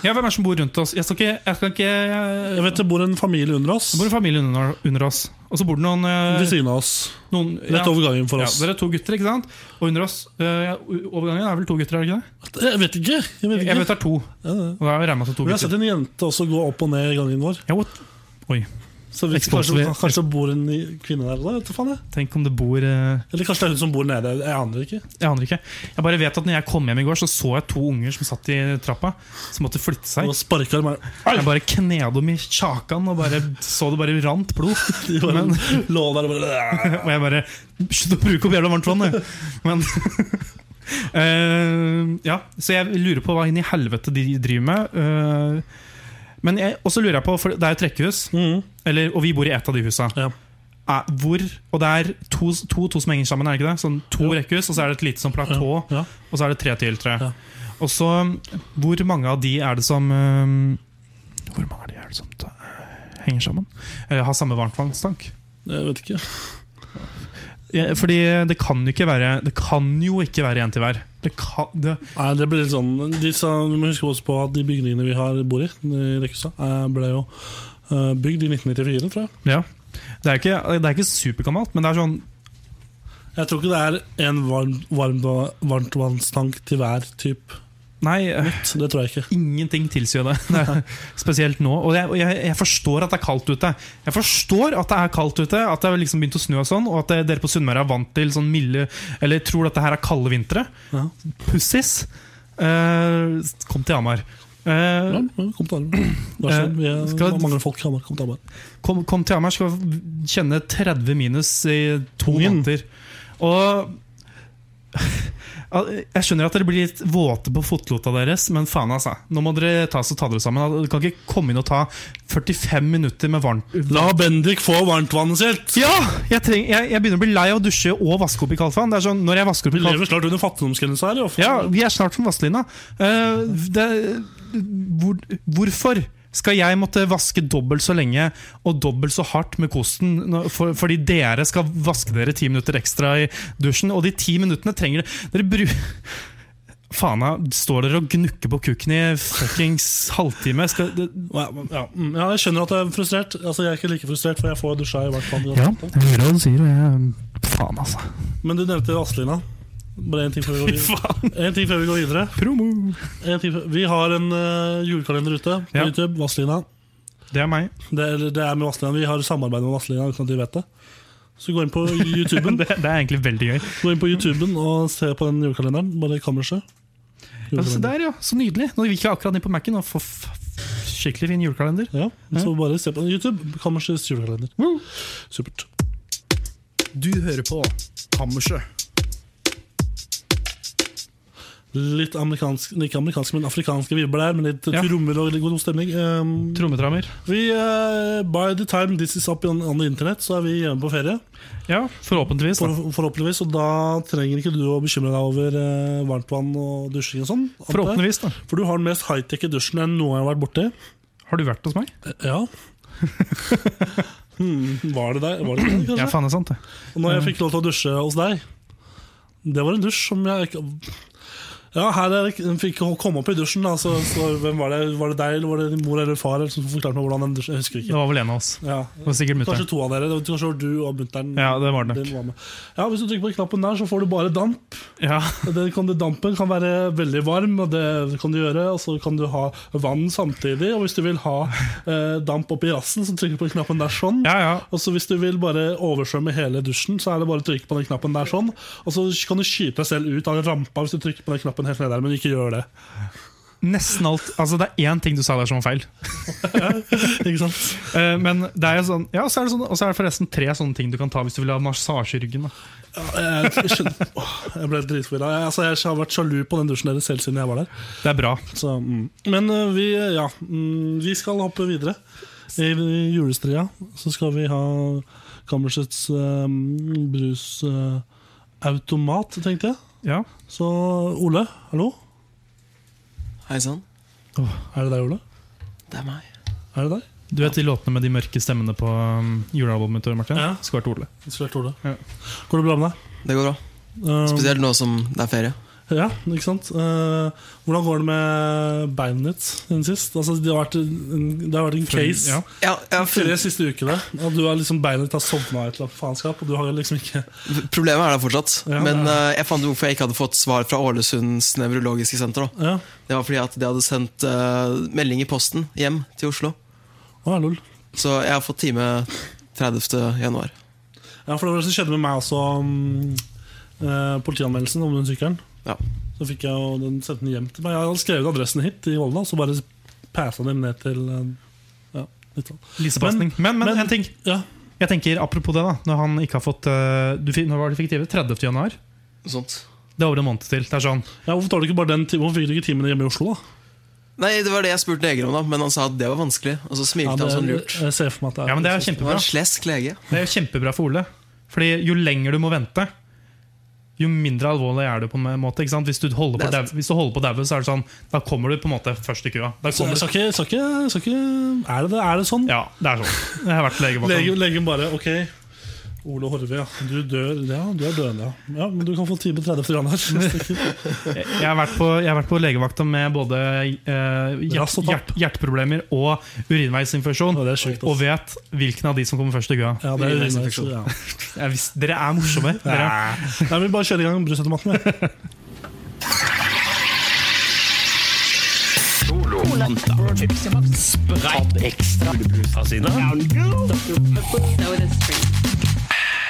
Speaker 1: Ja, Hvem er det som bor rundt oss? Jeg skal ikke, jeg skal ikke jeg,
Speaker 2: Jeg vet Det bor en familie under oss.
Speaker 1: Det bor en familie under, under oss. Og så bor det noen, eh,
Speaker 2: Ved siden av oss.
Speaker 1: noen
Speaker 2: Rett over gangen for
Speaker 1: Ja,
Speaker 2: oss.
Speaker 1: dere er to gutter, ikke sant? Og under oss eh, over gangen er vel to gutter, er det ikke det?
Speaker 2: Jeg vet ikke. Jeg vet
Speaker 1: Jeg
Speaker 2: ikke.
Speaker 1: vet det er to.
Speaker 2: Ja, ja.
Speaker 1: Og da regner jeg med at det er to
Speaker 2: Vi har
Speaker 1: gutter.
Speaker 2: sett en jente også gå opp og ned i gangen vår.
Speaker 1: Ja, what? Oi,
Speaker 2: Så vi,
Speaker 1: Expose-
Speaker 2: kanskje, kanskje det bor en ny kvinne der? Da, vet du faen jeg.
Speaker 1: tenk om det bor eh,
Speaker 2: Eller kanskje det er hun som bor nede. Jeg aner ikke.
Speaker 1: Jeg aner ikke. Jeg bare vet at når jeg kom hjem i går, så så jeg to unger som satt i trappa, som måtte flytte seg.
Speaker 2: Og sparker meg.
Speaker 1: Jeg bare kneda dem i kjakan og bare så det bare rant blod. *laughs*
Speaker 2: De bare
Speaker 1: Men,
Speaker 2: lå der og bare
Speaker 1: og jeg bare Slutt å bruke opp jævla varmt vann, du! Men *laughs* eh, Ja, så jeg lurer på hva inn i helvete de driver med. eh, men jeg, også lurer jeg på, for det er jo trekkehus,
Speaker 2: Mhm.
Speaker 1: eller, og vi bor i ett av de husa.
Speaker 2: Ja.
Speaker 1: Er, hvor, og det er to, to, to som henger sammen, er det ikke det? Sånn to rekkehus, og så er det et lite sånn platå,
Speaker 2: Ja.
Speaker 1: og så er det tre til, tror jeg.
Speaker 2: Ja.
Speaker 1: Og så, hvor mange av de er det som eh, Hvor mange av de er det som eh, henger sammen? Eller har samme varmtvannstank?
Speaker 2: Jeg vet ikke.
Speaker 1: Ja, fordi det kan jo ikke være Det kan jo ikke være en til hver. Det kan, det,
Speaker 2: Nei, det blir litt sånn de sa, Vi må huske også på at de bygningene vi har bor i, i rekkehuset, eh, ble jo eh, bygd i 1994, tror jeg.
Speaker 1: ja. det, er ikke, det er ikke supergammelt, men det er sånn
Speaker 2: Jeg tror ikke det er en varm, varm, varmtvannstank til hver type.
Speaker 1: Nei, eh,
Speaker 2: Så det tror jeg ikke.
Speaker 1: ingenting tilsier det. det er, spesielt nå. Og jeg, og jeg, jeg forstår at det er kaldt ute. Jeg forstår at det er kaldt ute, at det har liksom begynt å snø og sånn, og at det- dere på Sunnmøre er vant til sånn milde Eller tror at det her er kalde vintre.
Speaker 2: Ja.
Speaker 1: Pussis. Eh, kom til Hamar. Eh,
Speaker 2: Ja, men kom til Hamar. Vær så snill, vi er-
Speaker 1: skal-
Speaker 2: det mangler folk. i Hamar. Kom til Hamar.
Speaker 1: Kom, kom til Hamar, skal kjenne 30 minus i to
Speaker 2: Ungen.
Speaker 1: måneder. Og Ja, Jeg skjønner at dere blir litt våte på fotlota deres, men faen, altså. Nå må dere ta, så ta dere sammen. Du kan ikke komme inn og ta 45 minutter med varmt
Speaker 2: La Bendik få varmtvannet sitt!
Speaker 1: Ja! Jeg, treng, jeg, jeg begynner å bli lei av å dusje og vaske opp i kaldt vann. Det er sånn, når jeg vasker opp
Speaker 2: Vi
Speaker 1: i kaldt
Speaker 2: lever snart under fattigdomsgrensa her. jo.
Speaker 1: Ja, vi er snart som Vazelina. Eh, det- hvor, hvorfor skal jeg måtte vaske dobbelt så lenge og dobbelt så hardt med kosten når- for, fordi dere skal vaske dere ti minutter ekstra i dusjen? Og de ti minuttene trenger dere Dere bru... Faen, da, står dere og gnukker på kukken i fuckings halvtime? Skal, det,
Speaker 2: Ja, men- ja, mm, ja, jeg skjønner at jeg er frustrert. Altså, Jeg er ikke like frustrert, for jeg får dusja i hvert fall.
Speaker 1: hører hva du sier, og jeg Faen, altså.
Speaker 2: Men du nevnte Aslina. Bare én ting før
Speaker 1: *laughs*
Speaker 2: vi går videre. En ting før vi går videre.
Speaker 1: Promo!
Speaker 2: En ting før. Vi har en eh, julekalender ute på
Speaker 1: Ja.
Speaker 2: YouTube. Vazelina.
Speaker 1: Det er meg.
Speaker 2: Det, eller det er med Vazelina. Vi har samarbeid med Vazelina uten at de vet det. Så gå inn på YouTuben
Speaker 1: Det, det er egentlig veldig gøy.
Speaker 2: Gå inn på YouTuben og se på den julekalenderen. Bare i kammerset.
Speaker 1: Ja,
Speaker 2: Julekalender.
Speaker 1: se der, ja. Så nydelig. Nå gikk jeg akkurat ned på Mac-en og får f- f- skikkelig fin julekalender.
Speaker 2: Ja, så bare se på den. YouTube. Kammersets julekalender. Supert.
Speaker 3: Du hører på Kammerset.
Speaker 2: Litt amerikansk, ikke amerikansk, men afrikanske vibber der, med litt
Speaker 1: Ja.
Speaker 2: trommer og litt god stemning. Um,
Speaker 1: Trommetrammer.
Speaker 2: vi, eh, by the time this is up on, on the internet, så er vi hjemme på ferie.
Speaker 1: Ja, forhåpentligvis. da.
Speaker 2: For, forhåpentligvis, og da trenger ikke du å bekymre deg over eh, varmtvann og dusjing og sånn. antar jeg.
Speaker 1: Forhåpentligvis, da.
Speaker 2: For du har den mest high-tech dusjen jeg noen gang har vært borti.
Speaker 1: Har du vært hos meg?
Speaker 2: Ja. *laughs* hmm, var det der? Var det der kanskje?
Speaker 1: Ja, faen det er sant, det.
Speaker 2: Og når jeg
Speaker 1: Mm.
Speaker 2: fikk lov til å dusje hos deg Det var en dusj som jeg ikke Ja, her er det, den fikk komme opp i dusjen da, så, så hvem var det? Var det deg, eller var det din mor eller far eller, som forklarte meg hvordan den dusjen Jeg husker
Speaker 1: Det
Speaker 2: ikke.
Speaker 1: var vel en av oss.
Speaker 2: Ja.
Speaker 1: Det var sikkert
Speaker 2: Kanskje
Speaker 1: mutter'n.
Speaker 2: to av dere. Det var- Kanskje var du og mutter'n.
Speaker 1: Ja, det var det
Speaker 2: Den
Speaker 1: nok.
Speaker 2: var med. Ja, Hvis du trykker på knappen der, så får du bare damp.
Speaker 1: *laughs* Ja.
Speaker 2: Den, kan, den dampen kan være veldig varm, og det kan du gjøre. Og så kan du ha vann samtidig. Og hvis du vil ha eh, damp oppi rassen, så trykker du på knappen der sånn.
Speaker 1: ja, ja.
Speaker 2: Og så Hvis du vil bare oversvømme hele dusjen, så er det bare å trykke på den knappen der. sånn Og så kan du skyte deg selv ut av rampa hvis du trykker på den knappen helt ned der, men ikke gjør det.
Speaker 1: Nesten alt. Altså, det er én ting du sa der som *laughs* var feil.
Speaker 2: Ikke sant?
Speaker 1: Eh, men det er jo sånn, ja, og så er det, sånn, og så er det forresten tre sånne ting du kan ta hvis du vil ha massasje i ryggen. Da.
Speaker 2: Jeg, skjønner- Åh, jeg ble dritforvirra. Jeg, altså, jeg har vært sjalu på den dusjen deres selv siden jeg var der.
Speaker 1: Det er bra.
Speaker 2: Så, mm. Men eh, vi, ja, mm, vi skal hoppe videre. I julestria så skal vi ha kammersets eh, brusautomat, tenkte jeg.
Speaker 1: Ja.
Speaker 2: Så Ole, hallo?
Speaker 4: Hei sann,
Speaker 2: Er det deg, Ole?
Speaker 4: det er meg.
Speaker 2: Er det deg?
Speaker 1: Du vet de låtene med de mørke stemmene på um, julealbumet til Martin?
Speaker 2: Ja.
Speaker 1: Skulle vært Ole.
Speaker 2: Isolert Ole.
Speaker 1: Ja.
Speaker 2: Går det bra med deg?
Speaker 4: Det går bra.
Speaker 2: Eh,
Speaker 4: Spesielt nå som det er ferie.
Speaker 2: Ja, ikke sant? Eh, hvordan går det med beinet ditt siden sist? Altså, det, har vært en, det har vært en case
Speaker 1: Ja.
Speaker 4: Ja, jeg har
Speaker 2: tre
Speaker 4: funnet,
Speaker 2: siste ukene. Og du har liksom beinet ditt har sovna i et eller annet faenskap. Og du har liksom ikke
Speaker 4: problemet er der fortsatt.
Speaker 2: Ja.
Speaker 4: men eh, jeg fant ut hvorfor jeg ikke hadde fått svar fra Ålesunds nevrologiske senter. Da.
Speaker 2: Ja,
Speaker 4: Det var fordi at de hadde sendt eh, melding i posten hjem til Oslo.
Speaker 2: Å, ja lol.
Speaker 4: Så jeg har fått time 30. januar.
Speaker 2: Ja, for det var det som skjedde med meg også. Um, eh, politianmeldelsen om den sykkelen.
Speaker 4: Ja.
Speaker 2: Så fikk jeg jo den sendt den hjem til meg. Jeg hadde skrevet adressen hit i Volda, så bare passa dem ned til eh, Ja, litt sånn.
Speaker 1: Lisepasning. Men, men,
Speaker 2: men-
Speaker 1: en ting.
Speaker 2: Ja,
Speaker 1: Jeg tenker Apropos det, da. Når han ikke har fått uh, du, fikk- Når var det du fikk TV? 30. januar?
Speaker 4: Sånt.
Speaker 1: Det er over en måned til. Det er sånn
Speaker 2: ja Hvorfor tar du ikke bare den timen? Hvorfor fikk du ikke timen hjemme i Oslo, da?
Speaker 4: Nei, det var det jeg spurte leger om, da, men han sa at det var vanskelig. Og så
Speaker 2: Ja,
Speaker 4: smilte han
Speaker 2: det-
Speaker 4: sånn lurt.
Speaker 2: Jeg ser for meg at det er,
Speaker 1: Ja, men det er
Speaker 4: Det
Speaker 1: kjempebra.
Speaker 4: var en slesk lege.
Speaker 1: Det er jo kjempebra for Ole. Fordi jo lenger du må vente, jo mindre alvorlig er du på en måte. Ikke sant? Hvis du holder på
Speaker 4: Det er
Speaker 1: dau- hvis du holder på å daue, så er det sånn Da kommer du på en måte først i køa. Da
Speaker 2: Så
Speaker 1: kommer
Speaker 2: jeg
Speaker 1: du,
Speaker 2: skal ikke, skal ikke, skal ikke er, det det, er det sånn?
Speaker 1: ja, det er sånn. Jeg har vært lege bak
Speaker 2: Legen,
Speaker 1: ham.
Speaker 2: legen bare OK, Ole Horve, ja. Du dør. Ja, du er døende, ja. ja men du kan få time 30 *laughs* januar.
Speaker 1: Jeg har vært på, jeg har vært på legevakta med både eh,
Speaker 2: Rass
Speaker 1: hjert,
Speaker 2: og tapp.
Speaker 1: hjert, hjerteproblemer og urinveisinfeksjon.
Speaker 2: Ja, det er sjukt, ass.
Speaker 1: og vet hvilken av de som kommer først i køa.
Speaker 2: Ja, det er urinveisinfeksjon. Ja.
Speaker 1: Jeg visste, dere er morsomme. Dere er.
Speaker 2: Nei, vi bare kjører i gang brusautomaten. vi.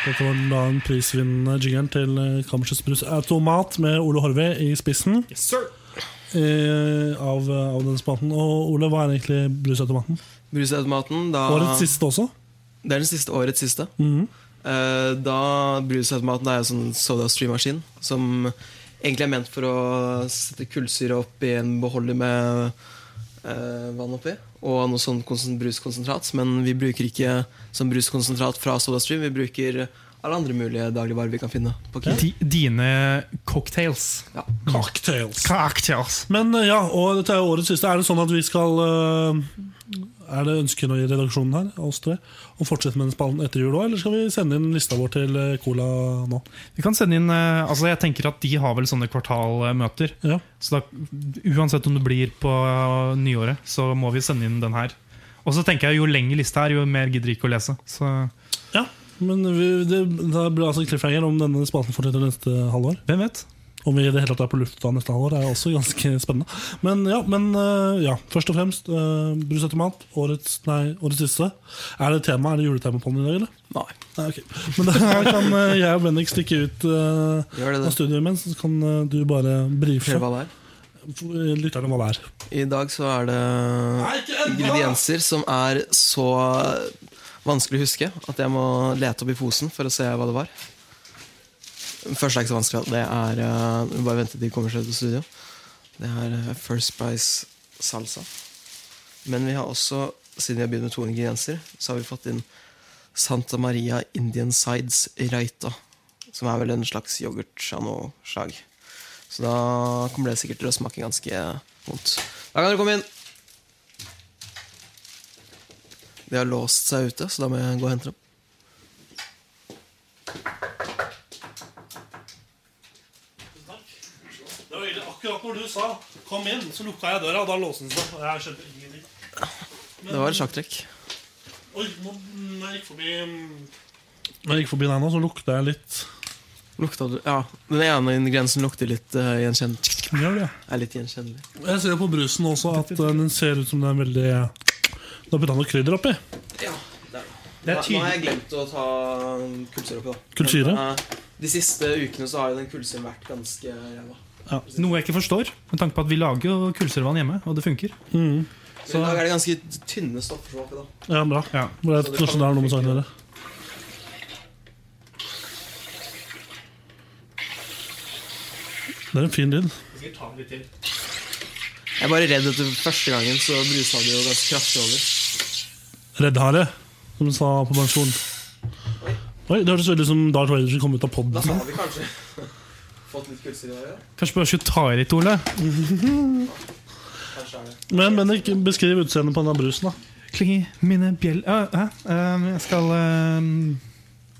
Speaker 2: Dette var da en prisvinnende jingeren til eh, Kammersets brusautomat med Ole Horve i spissen. eh, av, av den spaten. Og Ole, hva er egentlig brusautomaten?
Speaker 4: Brusautomaten, da
Speaker 2: Årets siste også?
Speaker 4: Det er den siste, årets siste. Eh, da Brusautomaten er jo sånn sodastream-maskin som egentlig er ment for å sette kullsyre opp i en beholder med eh, vann oppi. Og noe sånn konsen- bruskonsentrat. Men vi bruker ikke sånn bruskonsentrat fra sodastream. Vi bruker alle andre mulige dagligvarer vi kan finne på Kiwi.
Speaker 1: Di- Dine cocktails.
Speaker 2: Cocktails.
Speaker 1: Cocktails.
Speaker 2: Men eh, ja, og dette er jo årets siste. Er det sånn at vi skal eh, Er det ønskene i redaksjonen her, oss tre, å fortsette med den spalten etter jul òg, eller skal vi sende inn lista vår til eh, Cola nå?
Speaker 1: Vi kan sende inn eh, Altså Jeg tenker at de har vel sånne kvartalmøter.
Speaker 2: Ja.
Speaker 1: Så da, uansett om det blir på eh, nyåret, så må vi sende inn den her. Og så tenker jeg jo lenger lista er, jo mer gidder jeg ikke å lese. Så
Speaker 2: Ja, men vi, det, det blir altså cliffhanger om denne spalten fortsetter neste halvår.
Speaker 1: hvem vet?
Speaker 2: Om vi i det hele tatt er på lufta neste halvår, er også ganske spennende. Men ja, men, eh, ja først og fremst, uh, brusautomat, årets, nei, årets siste. Er det tema, er det juletema på den i dag, eller?
Speaker 4: Nei.
Speaker 2: Nei, ok. Men da *laughs* kan eh, jeg og Bendik stikke ut eh,
Speaker 4: Gjør det det.
Speaker 2: av studioet imens, så kan eh, du bare brife eh,
Speaker 4: Ser du hva det er?
Speaker 2: lytterne hva det er.
Speaker 4: I dag så er det ingredienser som er så vanskelig å huske at jeg må lete opp i posen for å se hva det var. Først er det ikke så vanskelig. Det er eh, vi Bare vente til de kommer seg til studio. Det er eh, First Price salsa. Men vi har også, siden vi har begynt med to ingredienser, så har vi fått inn Santa Maria Indian Sides Raita. Som er vel en slags yoghurt av noe slag. Så da kommer det sikkert til å smake ganske vondt. Da kan dere komme inn! De har låst seg ute, så da må jeg gå og hente dem.
Speaker 2: Det var egentlig akkurat når du sa 'kom inn', så lukka jeg døra, og da låste den seg. Og jeg skjønte ingenting.
Speaker 4: Det var et sjakktrekk.
Speaker 2: Oi, nå, når jeg gikk forbi mm. Når jeg gikk forbi deg nå, så lukta jeg litt
Speaker 4: Lukta du Ja, den ene ingrediensen lukter litt eh, gjenkjennelig.
Speaker 2: Gjør det?
Speaker 4: Er litt gjenkjennelig.
Speaker 2: Jeg ser jo på brusen også at eh, den ser ut som den er veldig Du har putta noe krydder oppi.
Speaker 4: Ja, det er
Speaker 1: Det er
Speaker 4: Nå har
Speaker 1: tydelig
Speaker 4: jeg glemt å ta um, kullsyre oppi, da.
Speaker 2: Kullsyre?
Speaker 4: Men, eh, De siste ukene så har jo den kullsyren vært ganske ræva.
Speaker 1: Noe jeg ikke forstår, med tanke på at vi lager jo kullsølvvann hjemme, og det funker.
Speaker 4: Så I dag er det ganske tynne stoffer som er oppi, da.
Speaker 2: Ja, bra.
Speaker 1: Ja.
Speaker 2: Hvor er, kanskje det er noe med saken å gjøre. Det er en fin lyd.
Speaker 4: Jeg er bare redd at det- første gangen så brusa det jo ganske kraftig over.
Speaker 2: Reddhare, som hun sa på pensjon. Oi, Det hørtes veldig ut som Darth Vader som kom ut av
Speaker 4: Da
Speaker 2: poden.
Speaker 4: har vi kanskje *laughs* fått litt kullsyre i dag. ja.
Speaker 1: Kanskje bare skulle ta i litt, Ole.
Speaker 4: Kanskje er det.
Speaker 2: Men Bendik, beskriv utseendet på denne brusen. da
Speaker 1: Klingi, mine bjell... Hæ? hæ? Ehm, jeg skal ehm,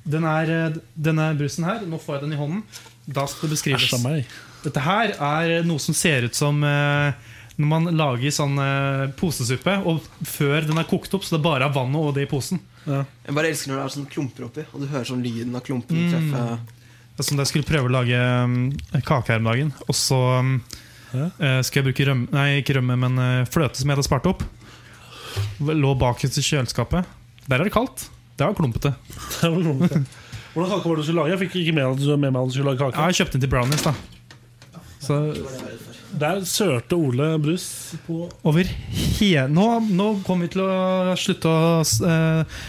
Speaker 1: den er, eh, Denne brusen her, nå får jeg den i hånden. Da skal det beskrives.
Speaker 2: Æsj av meg. *laughs*
Speaker 1: Dette her er noe som ser ut som eh, når man lager sånn eh, posesuppe, og før den er kokt opp, så det bare er vannet og det i posen.
Speaker 4: Jeg bare elsker når det er sånn klumper oppi, og du hører sånn lyden av klumpen
Speaker 1: Mm.
Speaker 4: treffe
Speaker 1: Det er Som da jeg skulle prøve å lage um, kake her om dagen. Og så um, eh, skal jeg bruke rømme, nei, ikke rømme, men eh, fløte som jeg hadde spart opp. Lå bakerst i kjøleskapet. Der er det kaldt. Det var klumpete.
Speaker 2: Det var kronglete. Hvordan kake var det du skulle lage? Jeg fikk ikke med at du var med meg at du skulle lage
Speaker 1: Jeg
Speaker 2: kake.
Speaker 1: har kjøpt den til brownies, da. Så
Speaker 2: Der sørte Ole brus på
Speaker 1: over he... Nå, nå kommer vi til å slutte å eh,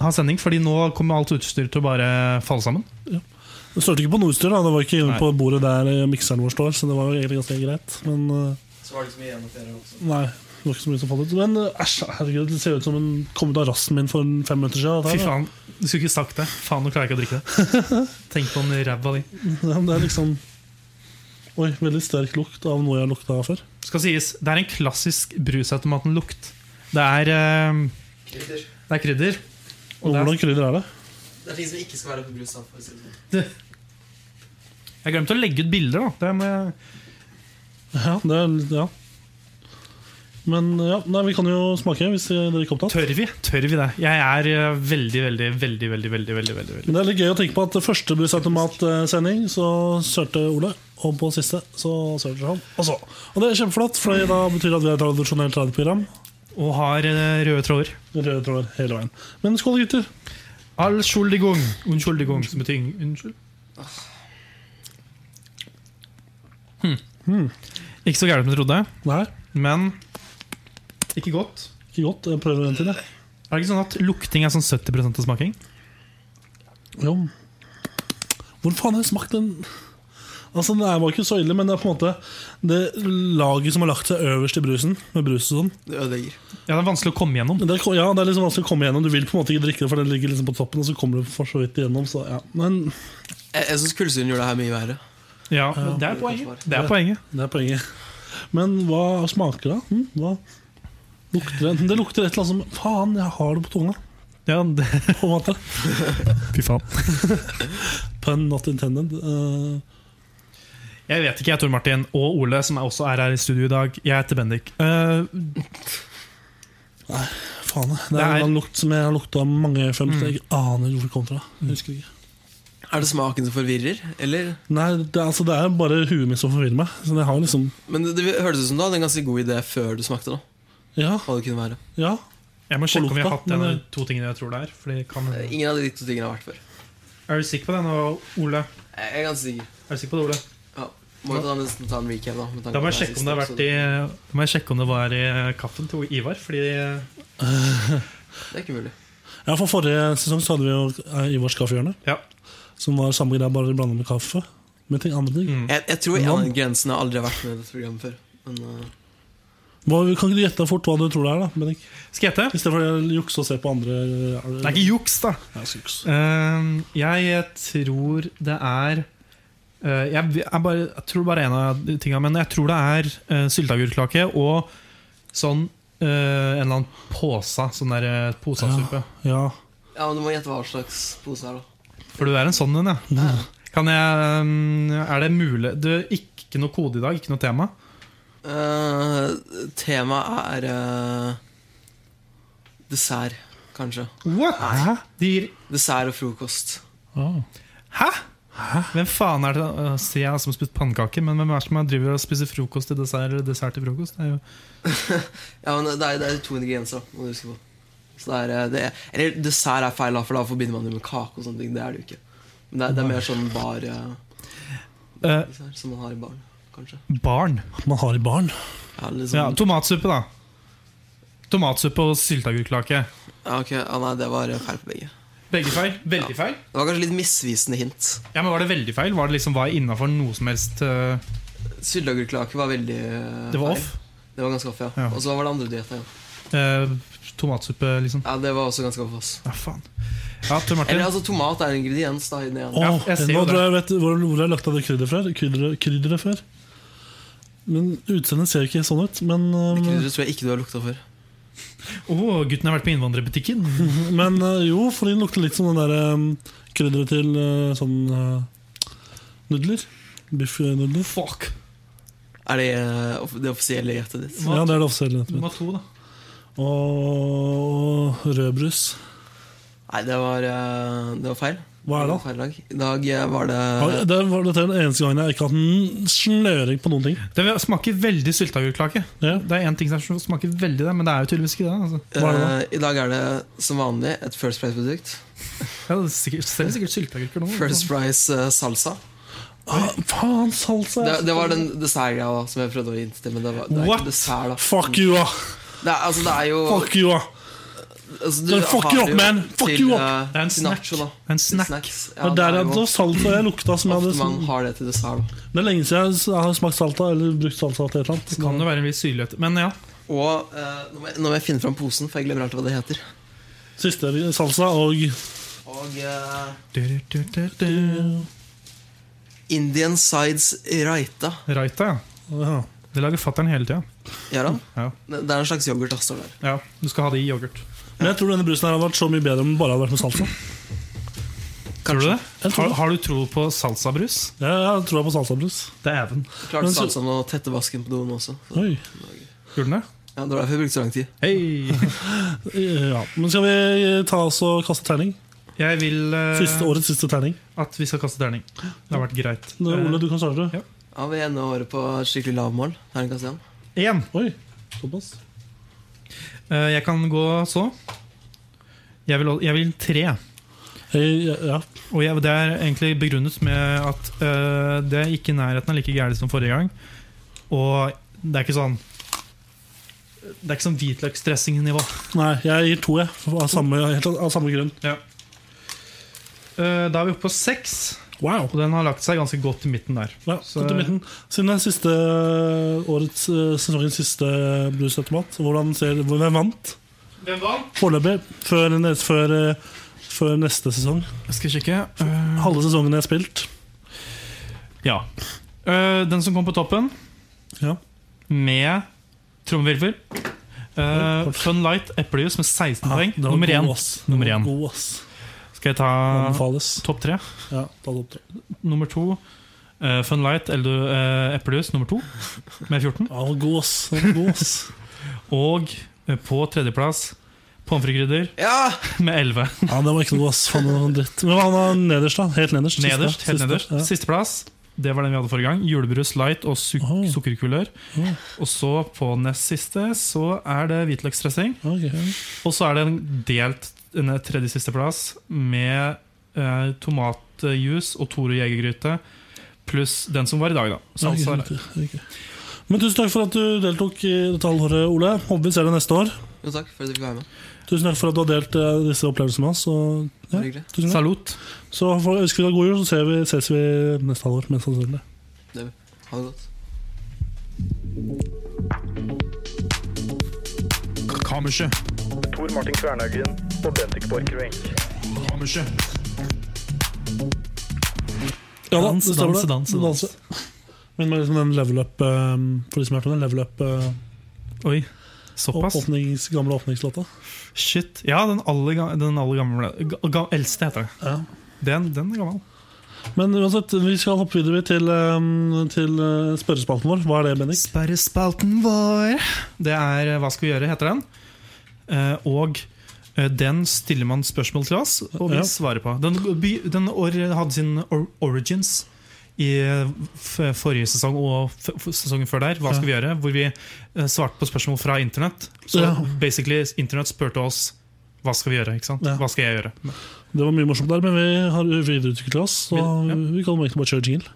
Speaker 1: ha sending, fordi nå kommer alt utstyr til å bare falle sammen.
Speaker 2: Det størte ikke på Nordstyr, da. Det var ikke inne
Speaker 1: Nei.
Speaker 2: på bordet der eh, mikseren vår står, så det var jo egentlig ganske greit. Men eh,
Speaker 4: Så var det liksom igjen at dere også
Speaker 2: nei, det var ikke så mye som falt ut. Men eh, æsj, herregud, det ser ut som en kom ut av rassen min for fem minutter siden.
Speaker 1: Fy
Speaker 2: dette her,
Speaker 1: faen, du skulle ikke sagt det. Faen, nå klarer jeg ikke å drikke det. Tenk på den ræva di.
Speaker 2: da. Ja, men Det er liksom Oi, veldig sterk lukt av noe jeg har lukta av før.
Speaker 1: skal sies, det er en klassisk brusautomaten-lukt. Det er, eh,
Speaker 4: Krydder.
Speaker 1: det er krydder.
Speaker 2: Og
Speaker 1: det er-
Speaker 2: hvordan krydder er det?
Speaker 4: Det er ting som ikke skal være på brus. da, for å si det sånn.
Speaker 1: Jeg glemte å legge ut bilder, da. Det må jeg
Speaker 2: Ja, det er litt- ja. Men eh, ja, nei, vi kan jo smake hvis dere ikke er opptatt.
Speaker 1: tør vi? Tør vi det? Jeg er eh, veldig, veldig, veldig, veldig, veldig, veldig, veldig, veldig.
Speaker 2: Men det er litt gøy å tenke på at første brusautomatsending så sørte Ole, og på siste så sørte han. Altså, og det er kjempeflott, for da betyr det at vi er et tradisjonelt radioprogram.
Speaker 1: Og har eh, røde tråder.
Speaker 2: Røde tråder hele veien. Men skål, gutter.
Speaker 1: All schuldigung. Unschuldigung, som betyr ing- unnskyld. Hm. Ikke så gærent som jeg trodde,
Speaker 2: Nei,
Speaker 1: men ikke godt.
Speaker 2: ikke godt. Jeg prøver en til, jeg.
Speaker 1: Er det ikke sånn at lukting er sånn 70 av smaking?
Speaker 2: Jo. Hvor faen har jeg smakt den? Altså, Det var ikke så ille, men det er på en måte det laget som har lagt seg øverst i brusen. med brus og sånn.
Speaker 4: Det ødelegger.
Speaker 1: Ja, det er vanskelig å komme gjennom.
Speaker 2: Men Det er, ja, det er liksom vanskelig å komme gjennom. Du vil på en måte ikke drikke det, for det ligger liksom på toppen. og så kommer du for så vidt igjennom, så ja. Men
Speaker 4: Jeg, jeg syns kullsyren gjorde det her mye verre.
Speaker 1: Ja, det er poenget. Det er poenget.
Speaker 2: Det er poenget. Men hva smaker det? Hm? Hva lukter det? Det lukter et eller annet som Faen, jeg har det på tunga.
Speaker 1: Ja, det,
Speaker 2: På en måte.
Speaker 1: *laughs* Fy faen.
Speaker 2: Pun not intended. Eh,
Speaker 1: Jeg vet ikke, jeg Tor Martin og Ole, som er også er her i studio i dag. Jeg heter Bendik. Eh,
Speaker 2: faen, det er, Mm.
Speaker 1: Det er-
Speaker 2: en annen lukt som jeg har lukta mange ganger før. men Jeg aner ikke hvor det kom fra. Jeg husker ikke.
Speaker 4: Er det smaken som forvirrer, eller?
Speaker 2: Nei, det, er- altså, det er bare huet mitt som forvirrer meg. Så det har liksom
Speaker 4: Men det, det hørtes ut som du hadde en ganske god idé før du smakte, da.
Speaker 2: Ja.
Speaker 4: Hva det kunne være.
Speaker 2: ja.
Speaker 1: jeg må sjekke om vi har
Speaker 2: lukta,
Speaker 1: hatt en av
Speaker 2: men-
Speaker 1: de to tingene jeg tror det er. Fordi det kan, er
Speaker 4: Eh, Ingen av de to tingene har vært før.
Speaker 1: du sikker på det nå, Ole?
Speaker 4: Jeg er ganske sikker.
Speaker 1: Er du sikker på det, Ole?
Speaker 4: Ja. Må jo ta, nesten ta en recap, da. med tanke
Speaker 1: Da må jeg
Speaker 4: på det
Speaker 1: sjekke om det har
Speaker 4: siste,
Speaker 1: vært i Da må jeg sjekke om det var i kaffen til Ivar. Fordi
Speaker 4: så Det er ikke mulig.
Speaker 2: ja, for forrige sesong så hadde vi jo eh, Ivars kaffehjørne,
Speaker 1: Ja,
Speaker 2: som var samme greia, bare blanda med kaffe. Med ting, andre ting.
Speaker 4: Jeg, jeg tror en av grensene aldri har vært med i dette programmet før. Men eh,
Speaker 2: Hva, kan ikke du gjette fort hva du tror det er, da? Bendik?
Speaker 1: skal jeg hete?
Speaker 2: I stedet for å jukse og se på andre. er
Speaker 1: Det er ikke juks, da.
Speaker 2: Ja, så juks.
Speaker 1: Eh, jeg tror det er eh, jeg, jeg, bare, jeg tror bare en av de tingene, men jeg tror det er uh, sylteagurklake og sånn eh, en eller annen påsa. Sånn der uh, posasuppe.
Speaker 2: Ja.
Speaker 4: ja, men du må gjette hva slags pose her, da.
Speaker 1: For du er en sånn en, ja. Kan jeg, eh, er det mulig du, Ikke noe kode i dag, ikke noe tema.
Speaker 4: Eh, Temaet er eh, dessert, kanskje.
Speaker 1: Hæ? De gir,
Speaker 4: Dessert og frokost.
Speaker 1: hæ? Hvem faen er det uh, Sier jeg som har spist pannekaker, men hvem er det som driver og spiser frokost til dessert eller dessert til frokost? Det er jo
Speaker 4: Ja, men det er, det er to ingredienser, da, må du huske på. Så det er, eh, det er, eller dessert er feil, da, for da forbinder man det med kake og sånne ting. Det er det jo ikke. Men det er, det er mer sånn bar eh,
Speaker 1: Eh,
Speaker 4: dessert som man har i baren. kanskje.
Speaker 1: Barn.
Speaker 2: Man har i barn.
Speaker 4: Ja, litt
Speaker 1: Ja,
Speaker 4: sånn,
Speaker 1: tomatsuppe, da. Tomatsuppe og sylteagurklake.
Speaker 4: ja, ok, ja, Nei, det var feil på begge.
Speaker 1: Begge feil? Veldig feil?
Speaker 4: Det var kanskje litt misvisende hint.
Speaker 1: Ja, men Var det veldig feil? Var det liksom var innafor noe som helst? eh,
Speaker 4: Sylteagurklake var veldig eh,
Speaker 1: Det var
Speaker 4: feil.
Speaker 1: off?
Speaker 4: Det var ganske off, ja.
Speaker 1: Ja.
Speaker 4: Og så hva var det andre du gjetta. Ja.
Speaker 1: Eh, tomatsuppe, liksom.
Speaker 4: ja, det var også ganske off. Ass.
Speaker 1: Ja, faen. Ja, Tor Martin.
Speaker 4: Eller altså, tomat er en ingrediens. da i den ene.
Speaker 2: Åh,
Speaker 1: Ja, jeg ser
Speaker 2: nå
Speaker 1: jo det.
Speaker 2: tror jeg jeg vet hvor, hvor jeg har lagt av det krydderet før. Krydderet, krydderet før. Men utseendet ser ikke sånn ut. Men,
Speaker 4: Det
Speaker 2: um,
Speaker 4: krydderet tror jeg ikke du har lukta før. altså-
Speaker 1: Å, gutten har vært på innvandrerbutikken.
Speaker 2: men uh, jo, for den lukter litt som den der um, krydderet til uh, sånn uh, nudler. eh, Biffnudler.
Speaker 1: Fuck.
Speaker 4: Er det eh, off- det offisielle gjettet ditt?
Speaker 2: Ja, det er det offisielle.
Speaker 1: Du
Speaker 2: gjettet mitt.
Speaker 1: må ha to, da.
Speaker 2: Og rødbrus.
Speaker 4: Nei, det var, eh, det var feil.
Speaker 2: Hva er det?
Speaker 4: Feil dag. I dag eh, var det
Speaker 2: Ja, Det var dette er den eneste gangen jeg ikke har hatt en snøring på noen ting.
Speaker 1: Det smaker veldig sylteagurklake.
Speaker 2: Ja.
Speaker 1: Det er én ting som smaker veldig det, men det er jo tydeligvis ikke det. Altså.
Speaker 4: eh,
Speaker 2: Hva er det da?
Speaker 4: I dag er det som vanlig et First Price-produkt.
Speaker 1: Ja, det er sikkert, selger sikkert sylteagurker nå.
Speaker 4: First Price eh, salsa.
Speaker 2: Ah, faen, salsa!
Speaker 4: Det, det var den dessertgreia da, som jeg prøvde å hinte til. Men det, var, det er
Speaker 2: What?
Speaker 4: ikke dessert, da.
Speaker 2: Fuck you, ah!
Speaker 4: Det er, altså, det er jo
Speaker 2: Fuck you, ah!
Speaker 4: altså,
Speaker 2: Don't fuck
Speaker 4: har
Speaker 2: you up,
Speaker 4: jo
Speaker 2: man. Fuck
Speaker 4: til,
Speaker 2: you up.
Speaker 4: eh,
Speaker 1: Det er en
Speaker 4: til
Speaker 1: snack.
Speaker 4: nacho, da.
Speaker 1: Det er en snack.
Speaker 4: Ja,
Speaker 2: det er der
Speaker 4: jo
Speaker 2: at salsa jeg lukta som jeg
Speaker 4: Ofte
Speaker 2: hadde
Speaker 4: man har det til dessert. Da.
Speaker 2: sånn- Det er lenge siden jeg har smakt salta eller brukt salsa til et eller annet.
Speaker 1: Det kan jo være en viss syrlighet. Men ja,
Speaker 4: Og eh, nå, må jeg, nå må jeg finne fram posen, for jeg glemmer alltid hva det heter.
Speaker 2: Siste salsa og
Speaker 4: Og eh,
Speaker 1: Du-du-du-du.
Speaker 4: Indian Sides Raita.
Speaker 1: Raita, ja.
Speaker 2: ja.
Speaker 1: Det lager fattern hele tida.
Speaker 4: Gjør han?
Speaker 1: Ja.
Speaker 4: Det er en slags yoghurt. da, står det der.
Speaker 1: ja, du skal ha det i yoghurt.
Speaker 2: Men jeg tror denne brusen her hadde vært så mye bedre om den bare hadde vært med salsa.
Speaker 1: Tror du det?
Speaker 2: Jeg tror
Speaker 1: Har,
Speaker 2: det.
Speaker 1: har du tro på salsabrus?
Speaker 2: Jeg, jeg tror jeg på salsabrus.
Speaker 1: Det er even.
Speaker 4: Klarte
Speaker 2: Men så-
Speaker 4: salsaen å tette vasken på doen også.
Speaker 2: Oi.
Speaker 1: Gjorde den det?
Speaker 4: Ja, Det var derfor jeg brukte så lang tid.
Speaker 1: Hei!
Speaker 2: Ja. Men skal vi ta oss og kaste terning?
Speaker 1: *laughs* Jeg vil eh,
Speaker 2: Siste, årets siste terning.
Speaker 1: at vi skal kaste terning. Det har vært greit.
Speaker 2: Nå, Ole, du kan starte.
Speaker 1: ja.
Speaker 4: Ja, Vi ender året på et skikkelig lavmål. Terningkast igjen.
Speaker 1: Én.
Speaker 2: Oi, såpass.
Speaker 1: Eh, Jeg kan gå så. Jeg vil, jeg vil tre.
Speaker 2: Hei, ja.
Speaker 1: Og jeg, Det er egentlig begrunnet med at øh, det er ikke i nærheten av like gærent som forrige gang. Og det er ikke sånn Det er ikke sånn hvitløksdressingnivå.
Speaker 2: Nei, jeg gir to, jeg. Av samme, helt av samme grunn.
Speaker 1: Eh, da er vi oppe på seks,
Speaker 2: Wow.
Speaker 1: og den har lagt seg ganske godt i midten der.
Speaker 2: Ja,
Speaker 1: Så-
Speaker 2: godt i midten. Siden det er siste årets, eh, sesongens siste Blues Automat, hvordan ser hvem vant
Speaker 1: Hvem vant?
Speaker 2: foreløpig før, nes- før, eh, før neste sesong?
Speaker 1: Jeg skal kikke.
Speaker 2: Halve sesongen jeg har spilt.
Speaker 1: ja. Eh, den som kom på toppen,
Speaker 2: Ja.
Speaker 1: med trommevirvel uh, Fun Light eplejus med 16
Speaker 2: Ja,
Speaker 1: poeng.
Speaker 2: det Ah, var
Speaker 1: Nummer
Speaker 2: god,
Speaker 1: én.
Speaker 2: ass.
Speaker 1: Nummer
Speaker 2: Det var
Speaker 1: én.
Speaker 2: God, ass.
Speaker 1: Skal jeg ta
Speaker 2: Anbefales.
Speaker 1: topp tre?
Speaker 2: Ja, ta det opp til.
Speaker 1: Nummer to eh, Fun Light eller uh, Eplejus nummer to
Speaker 2: *laughs*
Speaker 1: med
Speaker 2: Ja,
Speaker 1: 14.
Speaker 2: den var god, ass. Den var god, ass.
Speaker 1: Og eh, på tredjeplass pommes frites-krydder
Speaker 4: Ja!
Speaker 1: *laughs* med 11.
Speaker 2: Ja, den var ikke noe god, ass. Faen, det var dritt. Men han er nederst, da. Helt nederst. Siste.
Speaker 1: Nederst, helt
Speaker 2: Siste.
Speaker 1: nederst.
Speaker 2: Ja.
Speaker 1: Sisteplass, det var den vi hadde forrige gang. Julebrus light og suk
Speaker 2: Oh.
Speaker 1: sukkerkulør.
Speaker 2: Oh.
Speaker 1: Og så på nest siste så er det hvitløksdressing.
Speaker 2: Ok, ja.
Speaker 1: Og så er det en delt en tredje sisteplass med eh, tomatjuice og Toro jegergryte. Pluss den som var i dag, da. Salsa.
Speaker 2: Ok, ok, ok. Men tusen takk for at du deltok i dette halvåret, Ole. Håper vi ser deg neste år.
Speaker 4: Jo takk for at du fikk være med.
Speaker 2: Tusen takk for at du har delt eh, disse opplevelsene med oss. Og,
Speaker 4: Det var
Speaker 2: ja,
Speaker 4: hyggelig.
Speaker 2: tusen takk.
Speaker 1: Salut.
Speaker 2: Så får- ønsker vi deg god jul, så ser vi, ses vi neste halvår. Mest sannsynlig.
Speaker 4: Det, ha det godt.
Speaker 3: Kammerset.
Speaker 6: Tor Martin Kvernhaugen og Bendik Borchgrevink.
Speaker 3: Kammerset.
Speaker 2: Ja da,
Speaker 1: Dans,
Speaker 2: det stemmer
Speaker 1: dans,
Speaker 2: det.
Speaker 1: dans,
Speaker 2: Du
Speaker 1: dans.
Speaker 2: danser. Men med liksom den level up eh, For de som har hørt om den level up eh,
Speaker 1: Oi, såpass?
Speaker 2: åpnings, gamle åpningslåta.
Speaker 1: Shit. Ja, den aller, ga- den aller gamle ga, ga, Eldste heter det.
Speaker 2: Ja.
Speaker 1: Den, den er gammel.
Speaker 2: Men uansett, vi skal hoppe videre til, eh, til eh, spørrespalten vår. Hva er det, Bendik?
Speaker 1: Sperrespalten vår. Det er eh, Hva skal vi gjøre? heter den. Eh, og eh, den stiller man spørsmål til oss, og vi
Speaker 2: Ja.
Speaker 1: svarer på. Den, by- den or, hadde sin or, origins i eh, f forrige sesong og f f sesongen før der. Hva skal vi gjøre? Hvor vi eh, svarte på spørsmål fra internett. Så
Speaker 2: Ja.
Speaker 1: basically, internett spurte oss hva skal vi gjøre. ikke sant?
Speaker 2: Ja.
Speaker 1: Hva skal jeg gjøre?
Speaker 2: Det var mye morsomt der, men vi har videreutviklet oss. Så
Speaker 1: Vil- ja.
Speaker 2: vi kan egentlig bare kjøre jingle.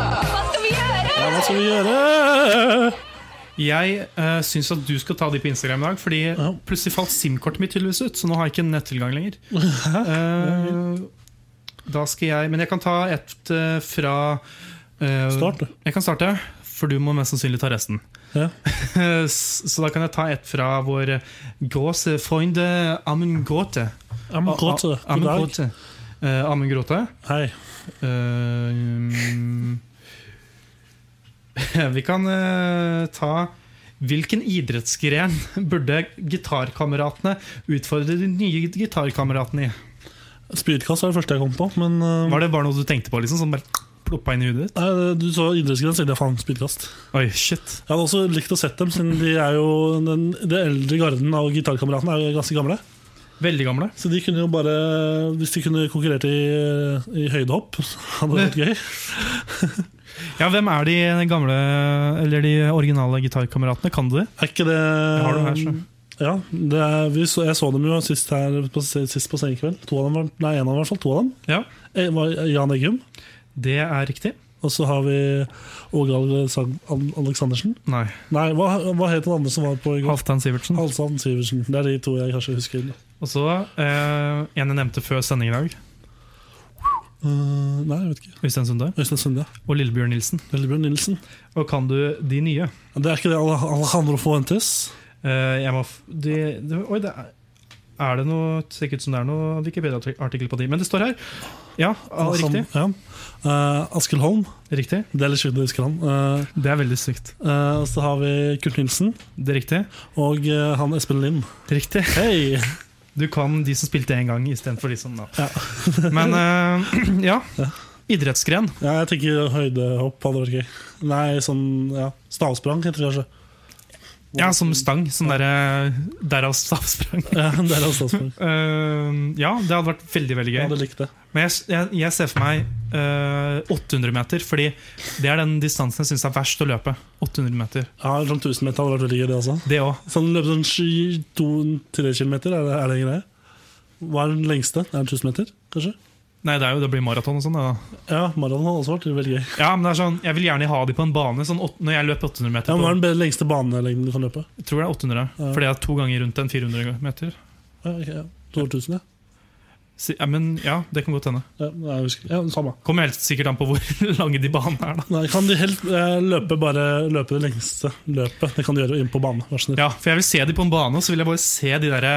Speaker 2: Ja, hva skal vi gjøre?
Speaker 1: Jeg uh, syns at du skal ta de på Instagram i dag, fordi plutselig falt SIM-kortet mitt tydeligvis ut, så nå har jeg ikke nettilgang
Speaker 2: *laughs*
Speaker 1: lenger. Eh, da skal jeg Men jeg kan ta et eh, fra eh,
Speaker 2: Start, du.
Speaker 1: Jeg kan starte, for du må mest sannsynlig ta resten. *laughs*
Speaker 2: Ja.
Speaker 1: Eh, s- så da kan jeg ta et fra vår gåse freunde Amund Gråte.
Speaker 2: Amund Gråte, god
Speaker 1: Amund
Speaker 2: dag.
Speaker 1: Gråte. Eh, Amund Gråte.
Speaker 2: Hei.
Speaker 1: Eh, mm. *laughs* vi kan eh, ta Hvilken idrettsgren *laughs* burde gitarkameratene utfordre de nye gitarkameratene i?
Speaker 2: Spydkast er det første jeg kom på, men eh,
Speaker 1: Var det bare noe du tenkte på? liksom, som bare ploppa inn i hudet ditt?
Speaker 2: nei, Du så idrettsgrense, det er faen spydkast.
Speaker 1: Oi, shit.
Speaker 2: Jeg hadde også likt å sett dem, siden de er jo den, det eldre garden av gitarkameratene er jo ganske gamle.
Speaker 1: Veldig gamle.
Speaker 2: Så de kunne jo bare Hvis de kunne konkurrert i, i høydehopp, *laughs* så hadde det vært gøy.
Speaker 1: Ja, Hvem er de gamle, eller de originale gitarkameratene? Kan du det?
Speaker 2: Er ikke det
Speaker 1: har du her, så.
Speaker 2: Ja, det er, vi så, Jeg så dem jo sist her på, sist på Senkveld. To av dem var, nei, en av dem i hvert fall. To av dem.
Speaker 1: Ja,
Speaker 2: En var Jan Eggum.
Speaker 1: Det er riktig.
Speaker 2: Og så har vi Åge Aleksan- Al- Aleksandersen.
Speaker 1: Nei.
Speaker 2: Nei, hva, hva het den andre som var på i går?
Speaker 1: Halvdan Sivertsen.
Speaker 2: Halvdan Sivertsen. Det er de to jeg kanskje husker.
Speaker 1: Og så eh, en jeg nevnte før sending i dag.
Speaker 2: Eh, nei, jeg vet ikke.
Speaker 1: Øystein Sunde.
Speaker 2: Øystein Sunde.
Speaker 1: Og Lillebjørn Nilsen.
Speaker 2: Lillebjørn Nilsen.
Speaker 1: Og kan du de nye?
Speaker 2: Det er ikke det Al- Alejandro Fuentes?
Speaker 1: Eh, jeg må f de, de, oi, det er, er det noe det ser ikke ut som det er noe Wikipedia-artikkel på de? Men det står her. Ja, ah, riktig.
Speaker 2: Ja. Eh, Askild Holm.
Speaker 1: riktig.
Speaker 2: Det er litt sjukt å huske han. Eh,
Speaker 1: Det er veldig stygt.
Speaker 2: eh, og så har vi Kurt Nilsen
Speaker 1: Det er riktig.
Speaker 2: og eh, han Espen Lind.
Speaker 1: Riktig.
Speaker 2: Hei!
Speaker 1: Du kan de som spilte én gang, istedenfor de som da.
Speaker 2: Ja.
Speaker 1: *laughs* Men eh, *clears throat* ja. Idrettsgren.
Speaker 2: Ja, jeg tenker høydehopp hadde vært gøy. Nei, sånn ja. stavsprang heter det kanskje. *laughs*
Speaker 1: Ja, som stang. Sånn derre Derav
Speaker 2: *laughs*
Speaker 1: stavsprang.
Speaker 2: Ja, det er altså stavsprang.
Speaker 1: Eh, ja, det hadde vært veldig veldig
Speaker 2: Jeg
Speaker 1: gøy.
Speaker 2: hadde likt det.
Speaker 1: Men jeg, jeg, jeg ser for meg eh, 800 meter, fordi det er den distansen jeg syns er verst å løpe. 800 meter.
Speaker 2: Ja, Rundt 1000 meter hadde vært veldig gøy, det også.
Speaker 1: Det òg.
Speaker 2: Sånn løpe sånn sky- to- tre kilometer, er det, er det en greie? Hva er den lengste? Er det 1000 meter, kanskje?
Speaker 1: Nei, det, er jo, det blir maraton og sånn. det da.
Speaker 2: Ja, maraton hadde også vært veldig gøy.
Speaker 1: Ja, men det er sånn, Jeg vil gjerne ha de på en bane. Sånn, åt- når jeg løper 800
Speaker 2: Ja, men
Speaker 1: meter
Speaker 2: Hva
Speaker 1: på,
Speaker 2: er den be- lengste banelengden du kan løpe?
Speaker 1: Jeg tror det er 800,
Speaker 2: Ja.
Speaker 1: for det er to ganger rundt en 400 meter.
Speaker 2: Ja, ok, ja. 2000, ja.
Speaker 1: Si- ja, men ja, det kan godt hende.
Speaker 2: ja. nei, Jeg husker. Ja, samme.
Speaker 1: Kommer helt sikkert an på hvor *laughs* lange de banene er. da.
Speaker 2: Nei, kan de helt eh, løpe bare løpe det lengste løpet? Det kan de gjøre inn på bane. Vær så snill.
Speaker 1: Ja, For jeg vil se de på en bane, og så vil jeg bare se de derre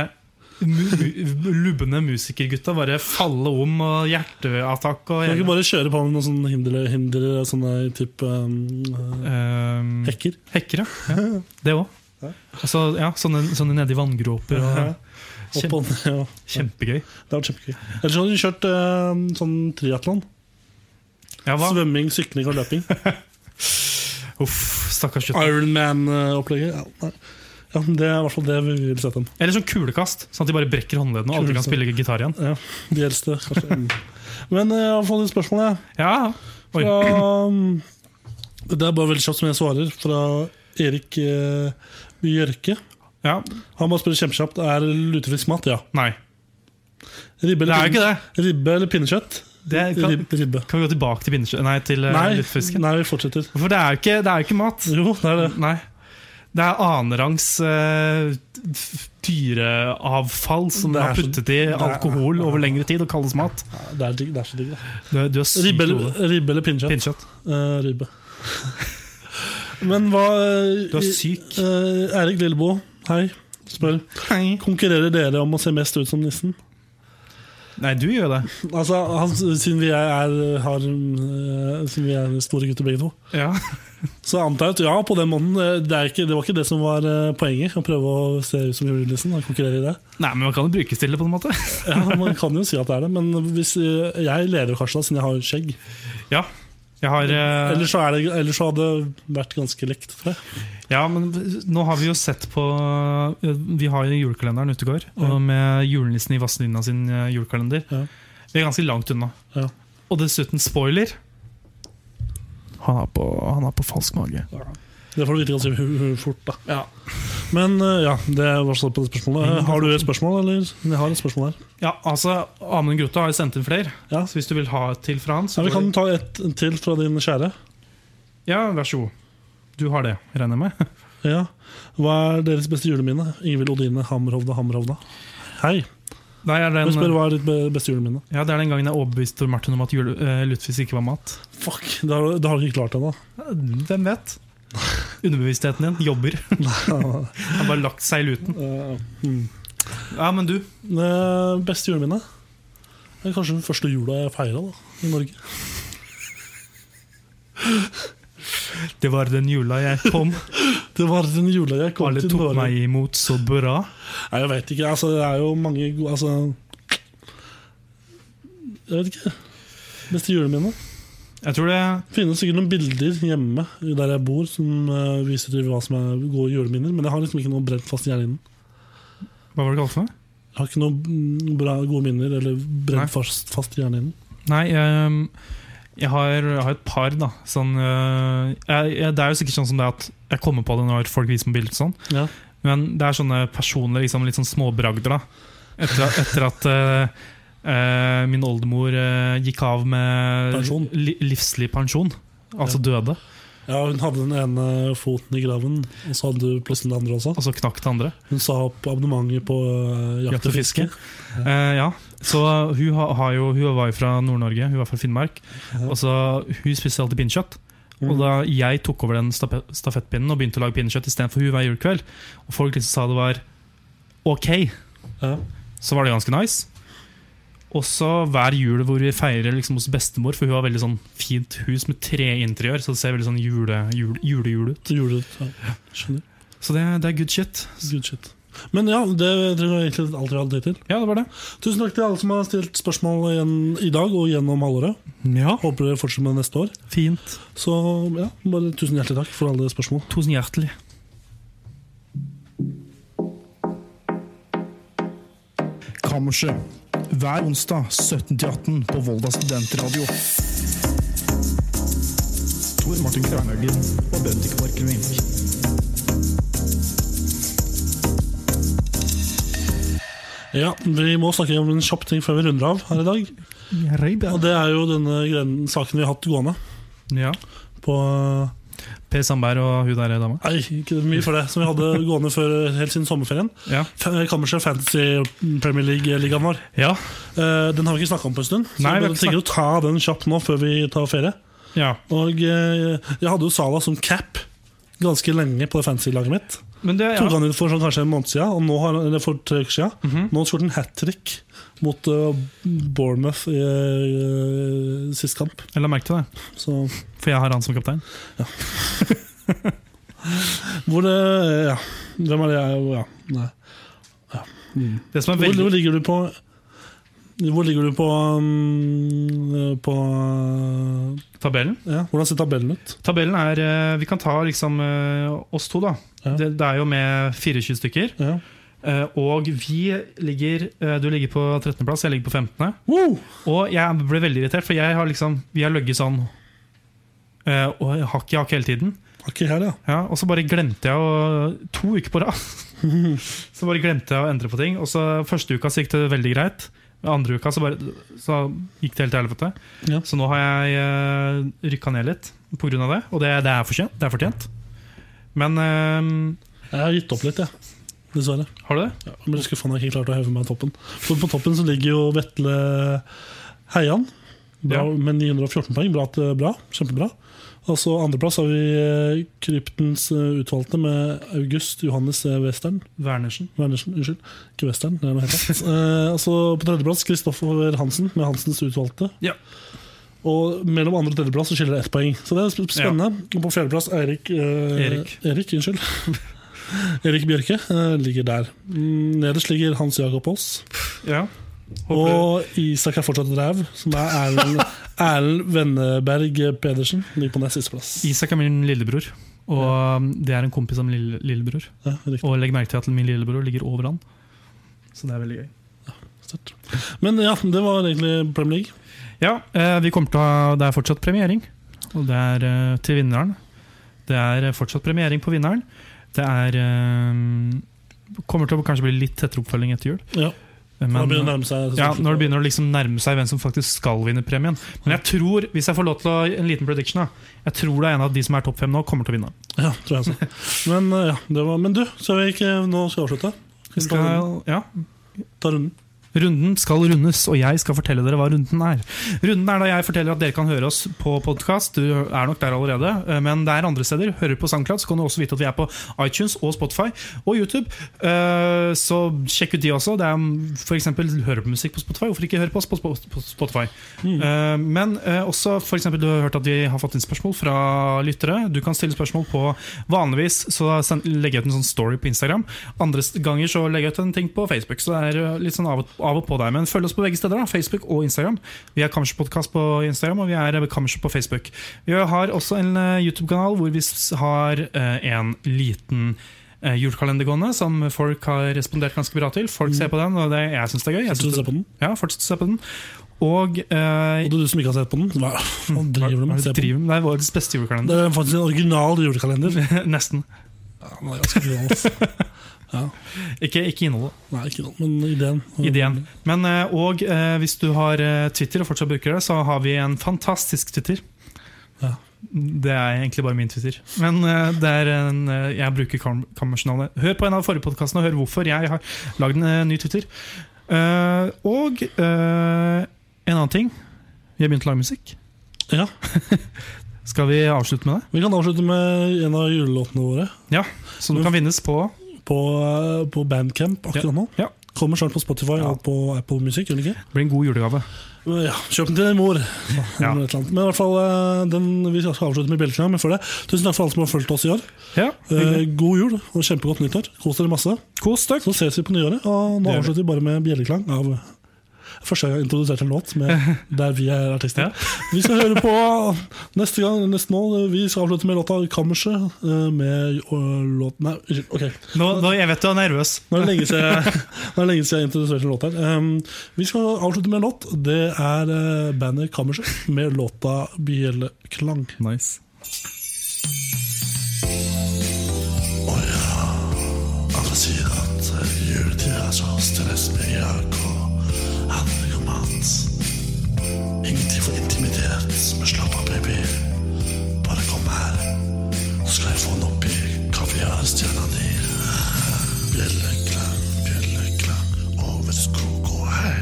Speaker 1: mu mu- lubne musikergutta bare falle om, og hjerteattakk og
Speaker 2: Kan du ikke bare kjøre på med noen sånne hindre, hindre sånne type um,
Speaker 1: Eh,
Speaker 2: hekker?
Speaker 1: Hekker, ja. ja. Det òg. Altså, ja, sånne, sånne nedi vanngråper. Og,
Speaker 2: Ja. Opp og ned. og-
Speaker 1: Kjempegøy.
Speaker 2: Det hadde vært kjempegøy. Ellers hadde du kjørt eh, sånn triatlon.
Speaker 1: Ja, hva?
Speaker 2: Svømming, sykling og løping.
Speaker 1: Uff, stakkars kjøtt.
Speaker 2: Ironman-opplegget. Ja, nei. ja, men det er i hvert fall det vi vil sette dem.
Speaker 1: Eller sånn kulekast, sånn at de bare brekker håndleddene og aldri kan
Speaker 2: Kulekast.
Speaker 1: spille gitar igjen.
Speaker 2: Ja, de eldste, kanskje. Mm. Men eh, jeg har fått et spørsmål, jeg.
Speaker 1: Ja, Oi.
Speaker 2: Fra, um, det er bare veldig kjapt som jeg svarer, fra Erik eh, Bjørke.
Speaker 1: ja.
Speaker 2: Han bare spør kjempekjapt er lutefisk mat. Ja.
Speaker 1: Nei.
Speaker 2: Ribbe
Speaker 1: Det
Speaker 2: eller,
Speaker 1: er jo
Speaker 2: pinne-
Speaker 1: ikke det.
Speaker 2: ribbe eller pinnekjøtt?
Speaker 1: det er, kan,
Speaker 2: Rib- ribbe.
Speaker 1: kan vi gå tilbake til pinnekjøtt Nei, til eh,
Speaker 2: Nei,
Speaker 1: luttfisken?
Speaker 2: nei, vi fortsetter.
Speaker 1: For det er jo ikke, det er jo ikke mat.
Speaker 2: Jo, det er det.
Speaker 1: Nei. Det er annenrangs eh, f- dyreavfall som
Speaker 2: Det er
Speaker 1: er
Speaker 2: så-
Speaker 1: puttet i
Speaker 2: det er-
Speaker 1: alkohol over lengre tid og kalles mat.
Speaker 2: Det er, digg, det er så digg, da.
Speaker 1: Du, er- du er sykt
Speaker 2: Ribbe,
Speaker 1: gode.
Speaker 2: eller- ribbe eller pinnekjøtt?
Speaker 1: Pinnekjøtt.
Speaker 2: Eh, ribbe. *laughs* Men hva
Speaker 1: Du er syk.
Speaker 2: Eh, Erik Lilleboe, hei. Spør.
Speaker 1: Hei.
Speaker 2: Konkurrerer dere om å se mest ut som nissen?
Speaker 1: Nei, du gjør det.
Speaker 2: Altså, han, siden, vi er, er, har, eh, siden vi er store gutter begge to,
Speaker 1: Ja.
Speaker 2: så antar jeg at ja, på den måten. eh, Det, er ikke, det var ikke det som var eh, poenget, å prøve å se ut som julenissen og konkurrere i det.
Speaker 1: Nei, men man kan jo brukes til det på en måte.
Speaker 2: Ja, Man kan jo si at det er det, men hvis, eh, jeg leder jo kanskje da, siden jeg har skjegg.
Speaker 1: Ja. Jeg har eh,
Speaker 2: Ellers så, er det, ellers så hadde det vært ganske likt. tror jeg.
Speaker 1: Ja, men nå har vi jo sett på eh, Vi har jo julekalenderen ute og går, og med julenissen i Vazelina sin eh, julekalender.
Speaker 2: Ja.
Speaker 1: Vi er ganske langt unna.
Speaker 2: Ja.
Speaker 1: Og dessuten, spoiler Han er på, han er på falsk mage.
Speaker 2: Det får du vite ganske hu- hu- fort, da.
Speaker 1: Ja.
Speaker 2: Men eh, ja, det var svar på det spørsmålet. Eh, Har du et spørsmål, eller? Jeg har et spørsmål her.
Speaker 1: Ja, altså, Amund Grotta har jo sendt inn flere,
Speaker 2: Ja.
Speaker 1: så hvis du vil ha et til fra han,
Speaker 2: Ja,
Speaker 1: så
Speaker 2: vi
Speaker 1: går
Speaker 2: kan
Speaker 1: det-
Speaker 2: ta et til fra din kjære.
Speaker 1: Ja, vær så god. Du har det, regner jeg med? *laughs*
Speaker 2: Ja. Hva er deres beste juleminne? Ingvild Odine Hammerhovda Hammerhovda. Hei.
Speaker 1: Nei, er
Speaker 2: Hun
Speaker 1: den,
Speaker 2: spør hva er ditt be- beste juleminne.
Speaker 1: ja, det er den gangen jeg overbeviste Tor Martin om at jule, eh, lutefisk ikke var mat.
Speaker 2: Fuck, det har, det har du ikke klart ennå.
Speaker 1: Hvem vet? Underbevisstheten din jobber. *laughs* Har bare lagt seg i luten. Mm.
Speaker 2: Eh,
Speaker 1: Ja, men du?
Speaker 2: eh, Beste juleminne? Det er kanskje den første jula jeg feira i Norge.
Speaker 1: Det var den jula jeg kom.
Speaker 2: Det var den jula jeg *laughs* kom
Speaker 1: Alle
Speaker 2: til
Speaker 1: tok
Speaker 2: Norge.
Speaker 1: meg imot så bra.
Speaker 2: Nei, jeg vet ikke. Altså, det er jo mange gode altså, Jeg vet ikke. Beste juleminne?
Speaker 1: Jeg tror det
Speaker 2: finnes sikkert noen bilder hjemme der jeg bor som eh, viser til hva som er gode juleminner, men jeg har liksom ikke noe brent fast i hjernen.
Speaker 1: Hva var det kalt for? noe?
Speaker 2: Jeg har ikke noe mm, bra, gode minner eller
Speaker 1: Nei.
Speaker 2: brent fast, fast i hjernen.
Speaker 1: Nei, ehm, jeg, har, jeg har et par, da. Sånn, øh, jeg, jeg, det er jo sikkert sånn som det at jeg kommer på det når folk viser meg bilder. og Sånn.
Speaker 2: Ja.
Speaker 1: Men det er sånne personlige, liksom, litt sånn småbragder, da. Etter, etter at øh, øh, min oldemor øh, gikk av med
Speaker 2: Pensjon.
Speaker 1: li, livslig pensjon. Altså døde.
Speaker 2: Ja, hun hadde den ene foten i graven, og så hadde hun plutselig den andre også.
Speaker 1: Altså knakk det andre.
Speaker 2: Hun sa opp abonnementet på eh, jakt og fiske.
Speaker 1: Eh, ja. Så hun, ha, har jo, hun var jo fra Nord-Norge, hun var fra Finnmark.
Speaker 2: Ja.
Speaker 1: Og så Hun spiste alltid pinnekjøtt. Og da jeg tok over den stape- stafettpinnen og begynte å lage pinnekjøtt istedenfor hun hver julekveld, og folk liksom sa det var ok,
Speaker 2: Ja.
Speaker 1: så var det ganske nice. Og så hver jul hvor vi feirer liksom hos bestemor, for hun har veldig sånn fint hus med treinteriør, så det ser veldig sånn jule- jule- julejul ut.
Speaker 2: Så gjorde du ja, Skjønner.
Speaker 1: Så det, det er good shit.
Speaker 2: Good shit. Men ja, det tror jeg egentlig alt vi hadde tid til.
Speaker 1: Ja, det var det.
Speaker 2: Tusen takk til alle som har stilt spørsmål igjen i dag og gjennom halvåret.
Speaker 1: Ja,
Speaker 2: Håper dere fortsetter med det neste år.
Speaker 1: Fint.
Speaker 2: Så ja, bare tusen hjertelig takk for alle spørsmål.
Speaker 1: Tusen hjertelig.
Speaker 3: Kammerset. Hver onsdag 17-18 på Volda studentradio. Tor Martin Kvernhaugen og Bendik Borchgrevink.
Speaker 2: Ja, Vi må snakke om en kjapp ting før vi runder av her i dag. Og det er jo denne gren- saken vi har hatt gående
Speaker 1: Ja.
Speaker 2: på
Speaker 1: Per Sandberg og hun der dama.
Speaker 2: Nei, ikke mye for det. Som vi *laughs* hadde gående før helt siden sommerferien.
Speaker 1: Ja.
Speaker 2: F- Kammerset Fantasy Premier League-ligaen vår.
Speaker 1: Ja.
Speaker 2: Eh, Den har vi ikke snakka om på en stund, så
Speaker 1: Nei, vi
Speaker 2: vi
Speaker 1: har ikke
Speaker 2: tenker å ta den kjapt nå før vi tar ferie.
Speaker 1: ja.
Speaker 2: Og eh, jeg hadde jo Sala som cap ganske lenge på det fantasy-laget mitt.
Speaker 1: Men det,
Speaker 2: Tok
Speaker 1: ja.
Speaker 2: han ut for sånn, kanskje en måned siden, og nå har, eller for tre uker siden.
Speaker 1: Mhm.
Speaker 2: Nå har han skåret en hat trick mot eh, Bournemouth i eh, sist kamp.
Speaker 1: Jeg la merke til det,
Speaker 2: Så,
Speaker 1: for jeg har han som kaptein.
Speaker 2: hvor det Ja, hvem er det jeg Ja, nei.
Speaker 1: Det som er
Speaker 2: Hvor,
Speaker 1: veldig
Speaker 2: hvor ligger du på Hvor ligger du på um, På
Speaker 1: Tabellen
Speaker 2: ja, Hvordan ser tabellen ut?
Speaker 1: Tabellen er eh, Vi kan ta liksom eh, oss to, da.
Speaker 2: Ja.
Speaker 1: Det, det er jo med 24 stykker.
Speaker 2: Ja.
Speaker 1: Eh, Og vi ligger eh, Du ligger på 13.-plass, jeg ligger på 15.
Speaker 2: Woo!
Speaker 1: Og jeg ble veldig irritert, for jeg har liksom vi har løgget sånn eh, og hakk i hakk hele tiden.
Speaker 2: Ikke her, ja.
Speaker 1: Ja, og så bare glemte jeg å To uker på
Speaker 2: *laughs*
Speaker 1: rad Så bare glemte jeg å endre på ting. Og så Første uka så gikk det veldig greit. Andre uka så, bare, så gikk det helt til helvete.
Speaker 2: Ja.
Speaker 1: Så nå har jeg uh, rykka ned litt pga. det, og det, det, er fortjent, det er fortjent. Men eh,
Speaker 2: Jeg har gitt opp litt, jeg. Dessverre.
Speaker 1: har du det?
Speaker 2: Ja, men jeg skuffa når jeg ikke klarte å heve meg i toppen. For på toppen så ligger jo Vetle Heian bra,
Speaker 1: Ja.
Speaker 2: med 914 poeng. Bra, til- bra, Kjempebra. Og så andreplass har vi eh, Kryptens eh, utvalgte med August Johannes eh, Western.
Speaker 1: Wernersen.
Speaker 2: Wernersen, unnskyld. Ikke Western, det er noe helt annet. Eh, og så på tredjeplass Kristoffer Hansen med Hansens utvalgte.
Speaker 1: Ja.
Speaker 2: Og mellom andre og tredjeplass så skiller det ett poeng. Så det er sp- spennende. Og på fjerdeplass Eirik eh,
Speaker 1: Erik.
Speaker 2: Erik, unnskyld. *laughs* Erik Bjørke eh, ligger der. Mm, Nederst ligger Hans Jakob Aas.
Speaker 1: Ja. Håper,
Speaker 2: Og Isak er fortsatt ræv, som er Erlend,
Speaker 1: *laughs*
Speaker 2: Erlend Venneberg Pedersen. Ligger på nest sisteplass.
Speaker 1: Isak er min lillebror, og eh, det er en kompis av min lille, lillebror.
Speaker 2: Ja, riktig.
Speaker 1: Og legg merke til at min lillebror ligger over han. Så det er veldig gøy.
Speaker 2: Sterkt. Men ja, det var egentlig Premier League.
Speaker 1: Ja, eh, vi kommer til å ha Det er fortsatt premiering. Og det er eh, til vinneren. Det er eh, fortsatt premiering på vinneren. Det er eh, Kommer til å kanskje bli litt tettere oppfølging etter jul.
Speaker 2: Ja,
Speaker 1: Men,
Speaker 2: da begynner det å nærme seg
Speaker 1: ja, når det begynner å liksom nærme seg hvem som faktisk skal vinne premien. Men jeg tror, hvis jeg får lov til å, en liten prediction, da, jeg tror det er en av de som er topp fem nå, kommer til å vinne.
Speaker 2: Ja, tror jeg også. Men, eh, ja, det var, men du, så vi ikke, nå skal vi avslutte. Skal vi ta runden?
Speaker 1: Skal, ja,
Speaker 2: Ta runden.
Speaker 1: Runden skal rundes, og jeg skal fortelle dere hva runden er. Runden er da jeg forteller at dere kan høre oss på podkast. Du er nok der allerede, eh, men det er andre steder. Hører du på SoundCloud, så kan du også vite at vi er på iTunes og Spotify og YouTube. Eh, Så sjekk ut de også. Det er mm, for eksempel hører du på musikk på Spotify, hvorfor ikke høre på oss på Spo- på Spotify?
Speaker 2: Mm.
Speaker 1: Eh, Men eh, også for eksempel, du har hørt at vi har fått inn spørsmål fra lyttere. Du kan stille spørsmål på vanligvis, så send, legger jeg ut en sånn story på Instagram. Andre s- ganger så legger jeg ut en ting på Facebook. Så det er eh, litt sånn av, og- av og på deg. Men følg oss på begge steder, da. Facebook og Instagram. Vi er Kammerspodkast på Instagram, og vi er eh, Kammerset på Facebook. Vi har også en eh, YouTube-kanal hvor vi s- har eh, en liten eh, julekalender gående, som folk har respondert ganske bra til. Folk ser på den, og det, jeg syns det er gøy. Jeg
Speaker 2: Skal
Speaker 1: synes
Speaker 2: Mm. du se på den?
Speaker 1: det- ja, fortsett å se på den. Og eh,
Speaker 2: Og du, du som ikke har sett på den, hva faen driver du
Speaker 1: hva
Speaker 2: med?
Speaker 1: er
Speaker 2: Se
Speaker 1: det
Speaker 2: på den.
Speaker 1: driver med? Det er vår beste julekalender.
Speaker 2: Det er faktisk en original julekalender.
Speaker 1: *laughs* Nesten.
Speaker 2: Ja, den er ganske original, ass.
Speaker 1: Ikke, ikke innholdet.
Speaker 2: Nei, ikke noe, men ideen. Mm.
Speaker 1: Ideen. Men, eh, og eh, hvis du har eh, Twitter og fortsatt bruker det, så har vi en fantastisk Twitter.
Speaker 2: Ja.
Speaker 1: Det er egentlig bare min Twitter. Men eh, det er en, eh, jeg bruker kam kammersjournalene. Hør på en av forrige podkastene og hør hvorfor jeg har lagd en eh, ny Twitter. Eh, og eh, en annen ting. Vi har begynt å lage musikk.
Speaker 2: Ja,
Speaker 1: Skal vi avslutte med det?
Speaker 2: vi kan avslutte med en av julelåtene våre
Speaker 1: Ja, Så du kan vinnes på
Speaker 2: på, eh, på Bandcamp akkurat nå.
Speaker 1: Ja.
Speaker 2: Kommer snart på Spotify
Speaker 1: Ja.
Speaker 2: og på Apple Music, gjør den ikke?
Speaker 1: Det blir en god julegave.
Speaker 2: Men Ja, kjøp den til din mor.
Speaker 1: Ja.
Speaker 2: Eller et eller annet. Men i hvert fall, eh, den, vi skal avslutte med bjelleklang, men før det, tusen takk for alle som har fulgt oss i år.
Speaker 1: Ja,
Speaker 2: Eh, god jul og kjempegodt nyttår. Kos dere masse.
Speaker 1: Kos dere.
Speaker 2: Så ses vi på nyåret, og nå
Speaker 1: Det gjør vi.
Speaker 2: avslutter vi bare med bjelleklang av Første gang jeg introduserte en låt med
Speaker 1: *laughs*
Speaker 2: der vi er artister.
Speaker 1: Ja.
Speaker 2: Vi skal høre på neste gang, neste nå, vi skal avslutte med låta 'Kammerset'. eh, Med øh, låt... Nei, unnskyld. Ok.
Speaker 1: Nå, nå, jeg vet du er nervøs.
Speaker 2: Nå er det lenge siden jeg, *laughs* nå er det lenge siden jeg introduserte en låt her. Um, vi skal avslutte med en låt. Det er eh, bandet Kammerset med låta 'Bjelleklang'.
Speaker 1: Nice.
Speaker 2: Alle sier at eh, juletid er så stresspreget og handlekommand. Ingenting for intimitet, men slapp av, baby. Bare kom her, så skal jeg få den opp i kaviarstjerna di. Bjelleklang, bjelleklang, over skog og hei.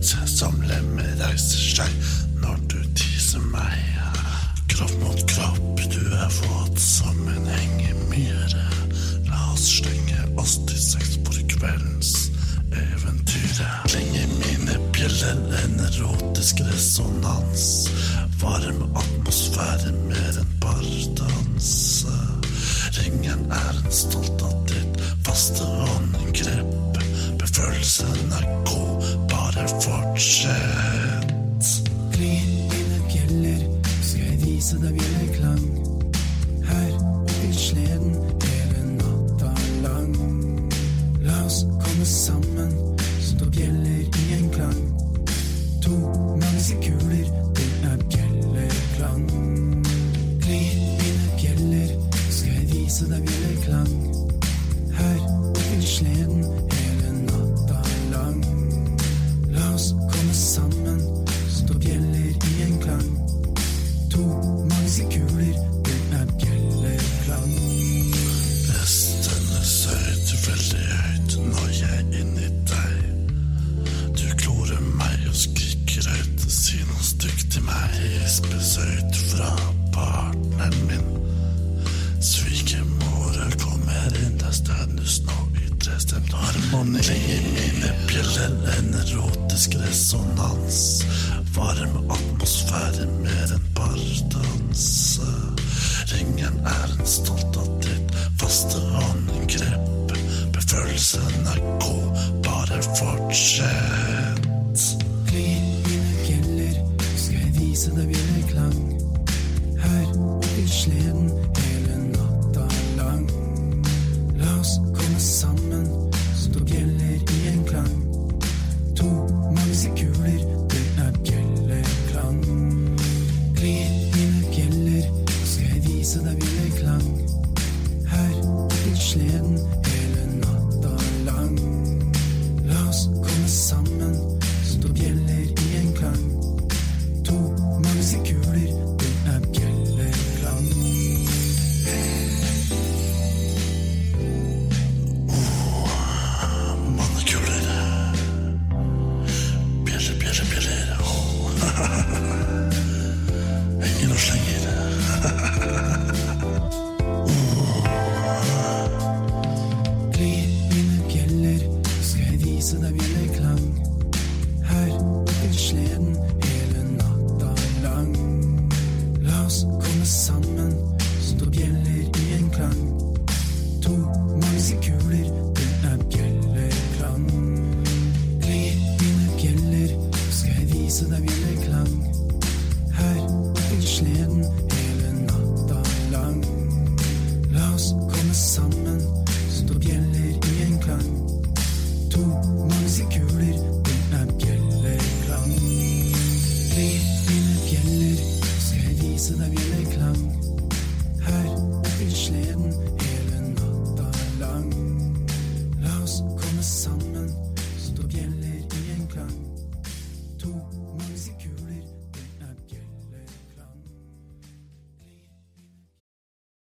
Speaker 2: Se samlemmer reiser seg når du tiser meg. Kropp mot kropp, du er våt som en hengemyre. La oss slenge oss til seks for kveldens eventyr. Klenge mine bjeller, en erotisk resonans. Varm atmosfære, mer enn pardanse. Ringen er en stolt av ditt faste håndgrep. Befølelsen er god, bare fortsett.
Speaker 7: Klinger mine bjeller, skal jeg vise deg bjelleklang. Her i sleden hele natta lang. La oss komme sammen, så da bjeller i en klang. To magnuskuler, det er bjelleklang. Klinger mine bjeller, skal jeg vise deg bjelleklang. Her i sleden hele natta lang. La oss komme sammen, stå bjeller i en klang. To magiske kuler, det er bjelleklang.
Speaker 2: Stemme søt, veldig høyt når jeg er inni deg. Du klorer meg og skriker høyt, si noe stygt til meg. Hispes høyt fra partneren min. Svigermora kommer inn, der står du nå i trestemt harmoni. Klinger mine bjeller, en erotisk resonans. Varm atmosfære, mer enn pardanse. Ringen er en stolt av ditt faste håndgrep. Befølelsen er god, bare fortsett.
Speaker 7: Klinger mine bjeller, skal jeg vise deg bjelleklang. Her i sleden hele natta lang. La oss komme sammen, stå bjeller i en klang. To magiske kuler, det er bjelleklang. Klinger mine bjeller, vise deg bjelleklang. Her oppe i sleden hele natta lang. La oss komme sammen, stå bjeller i en klang. To mausekuler, det er bjelleklang. Klinger dine bjeller, skal jeg vise deg bjelleklang. Her oppe i sleden hele natta lang. La oss komme sammen, stå bjeller i en klang. To mausekuler,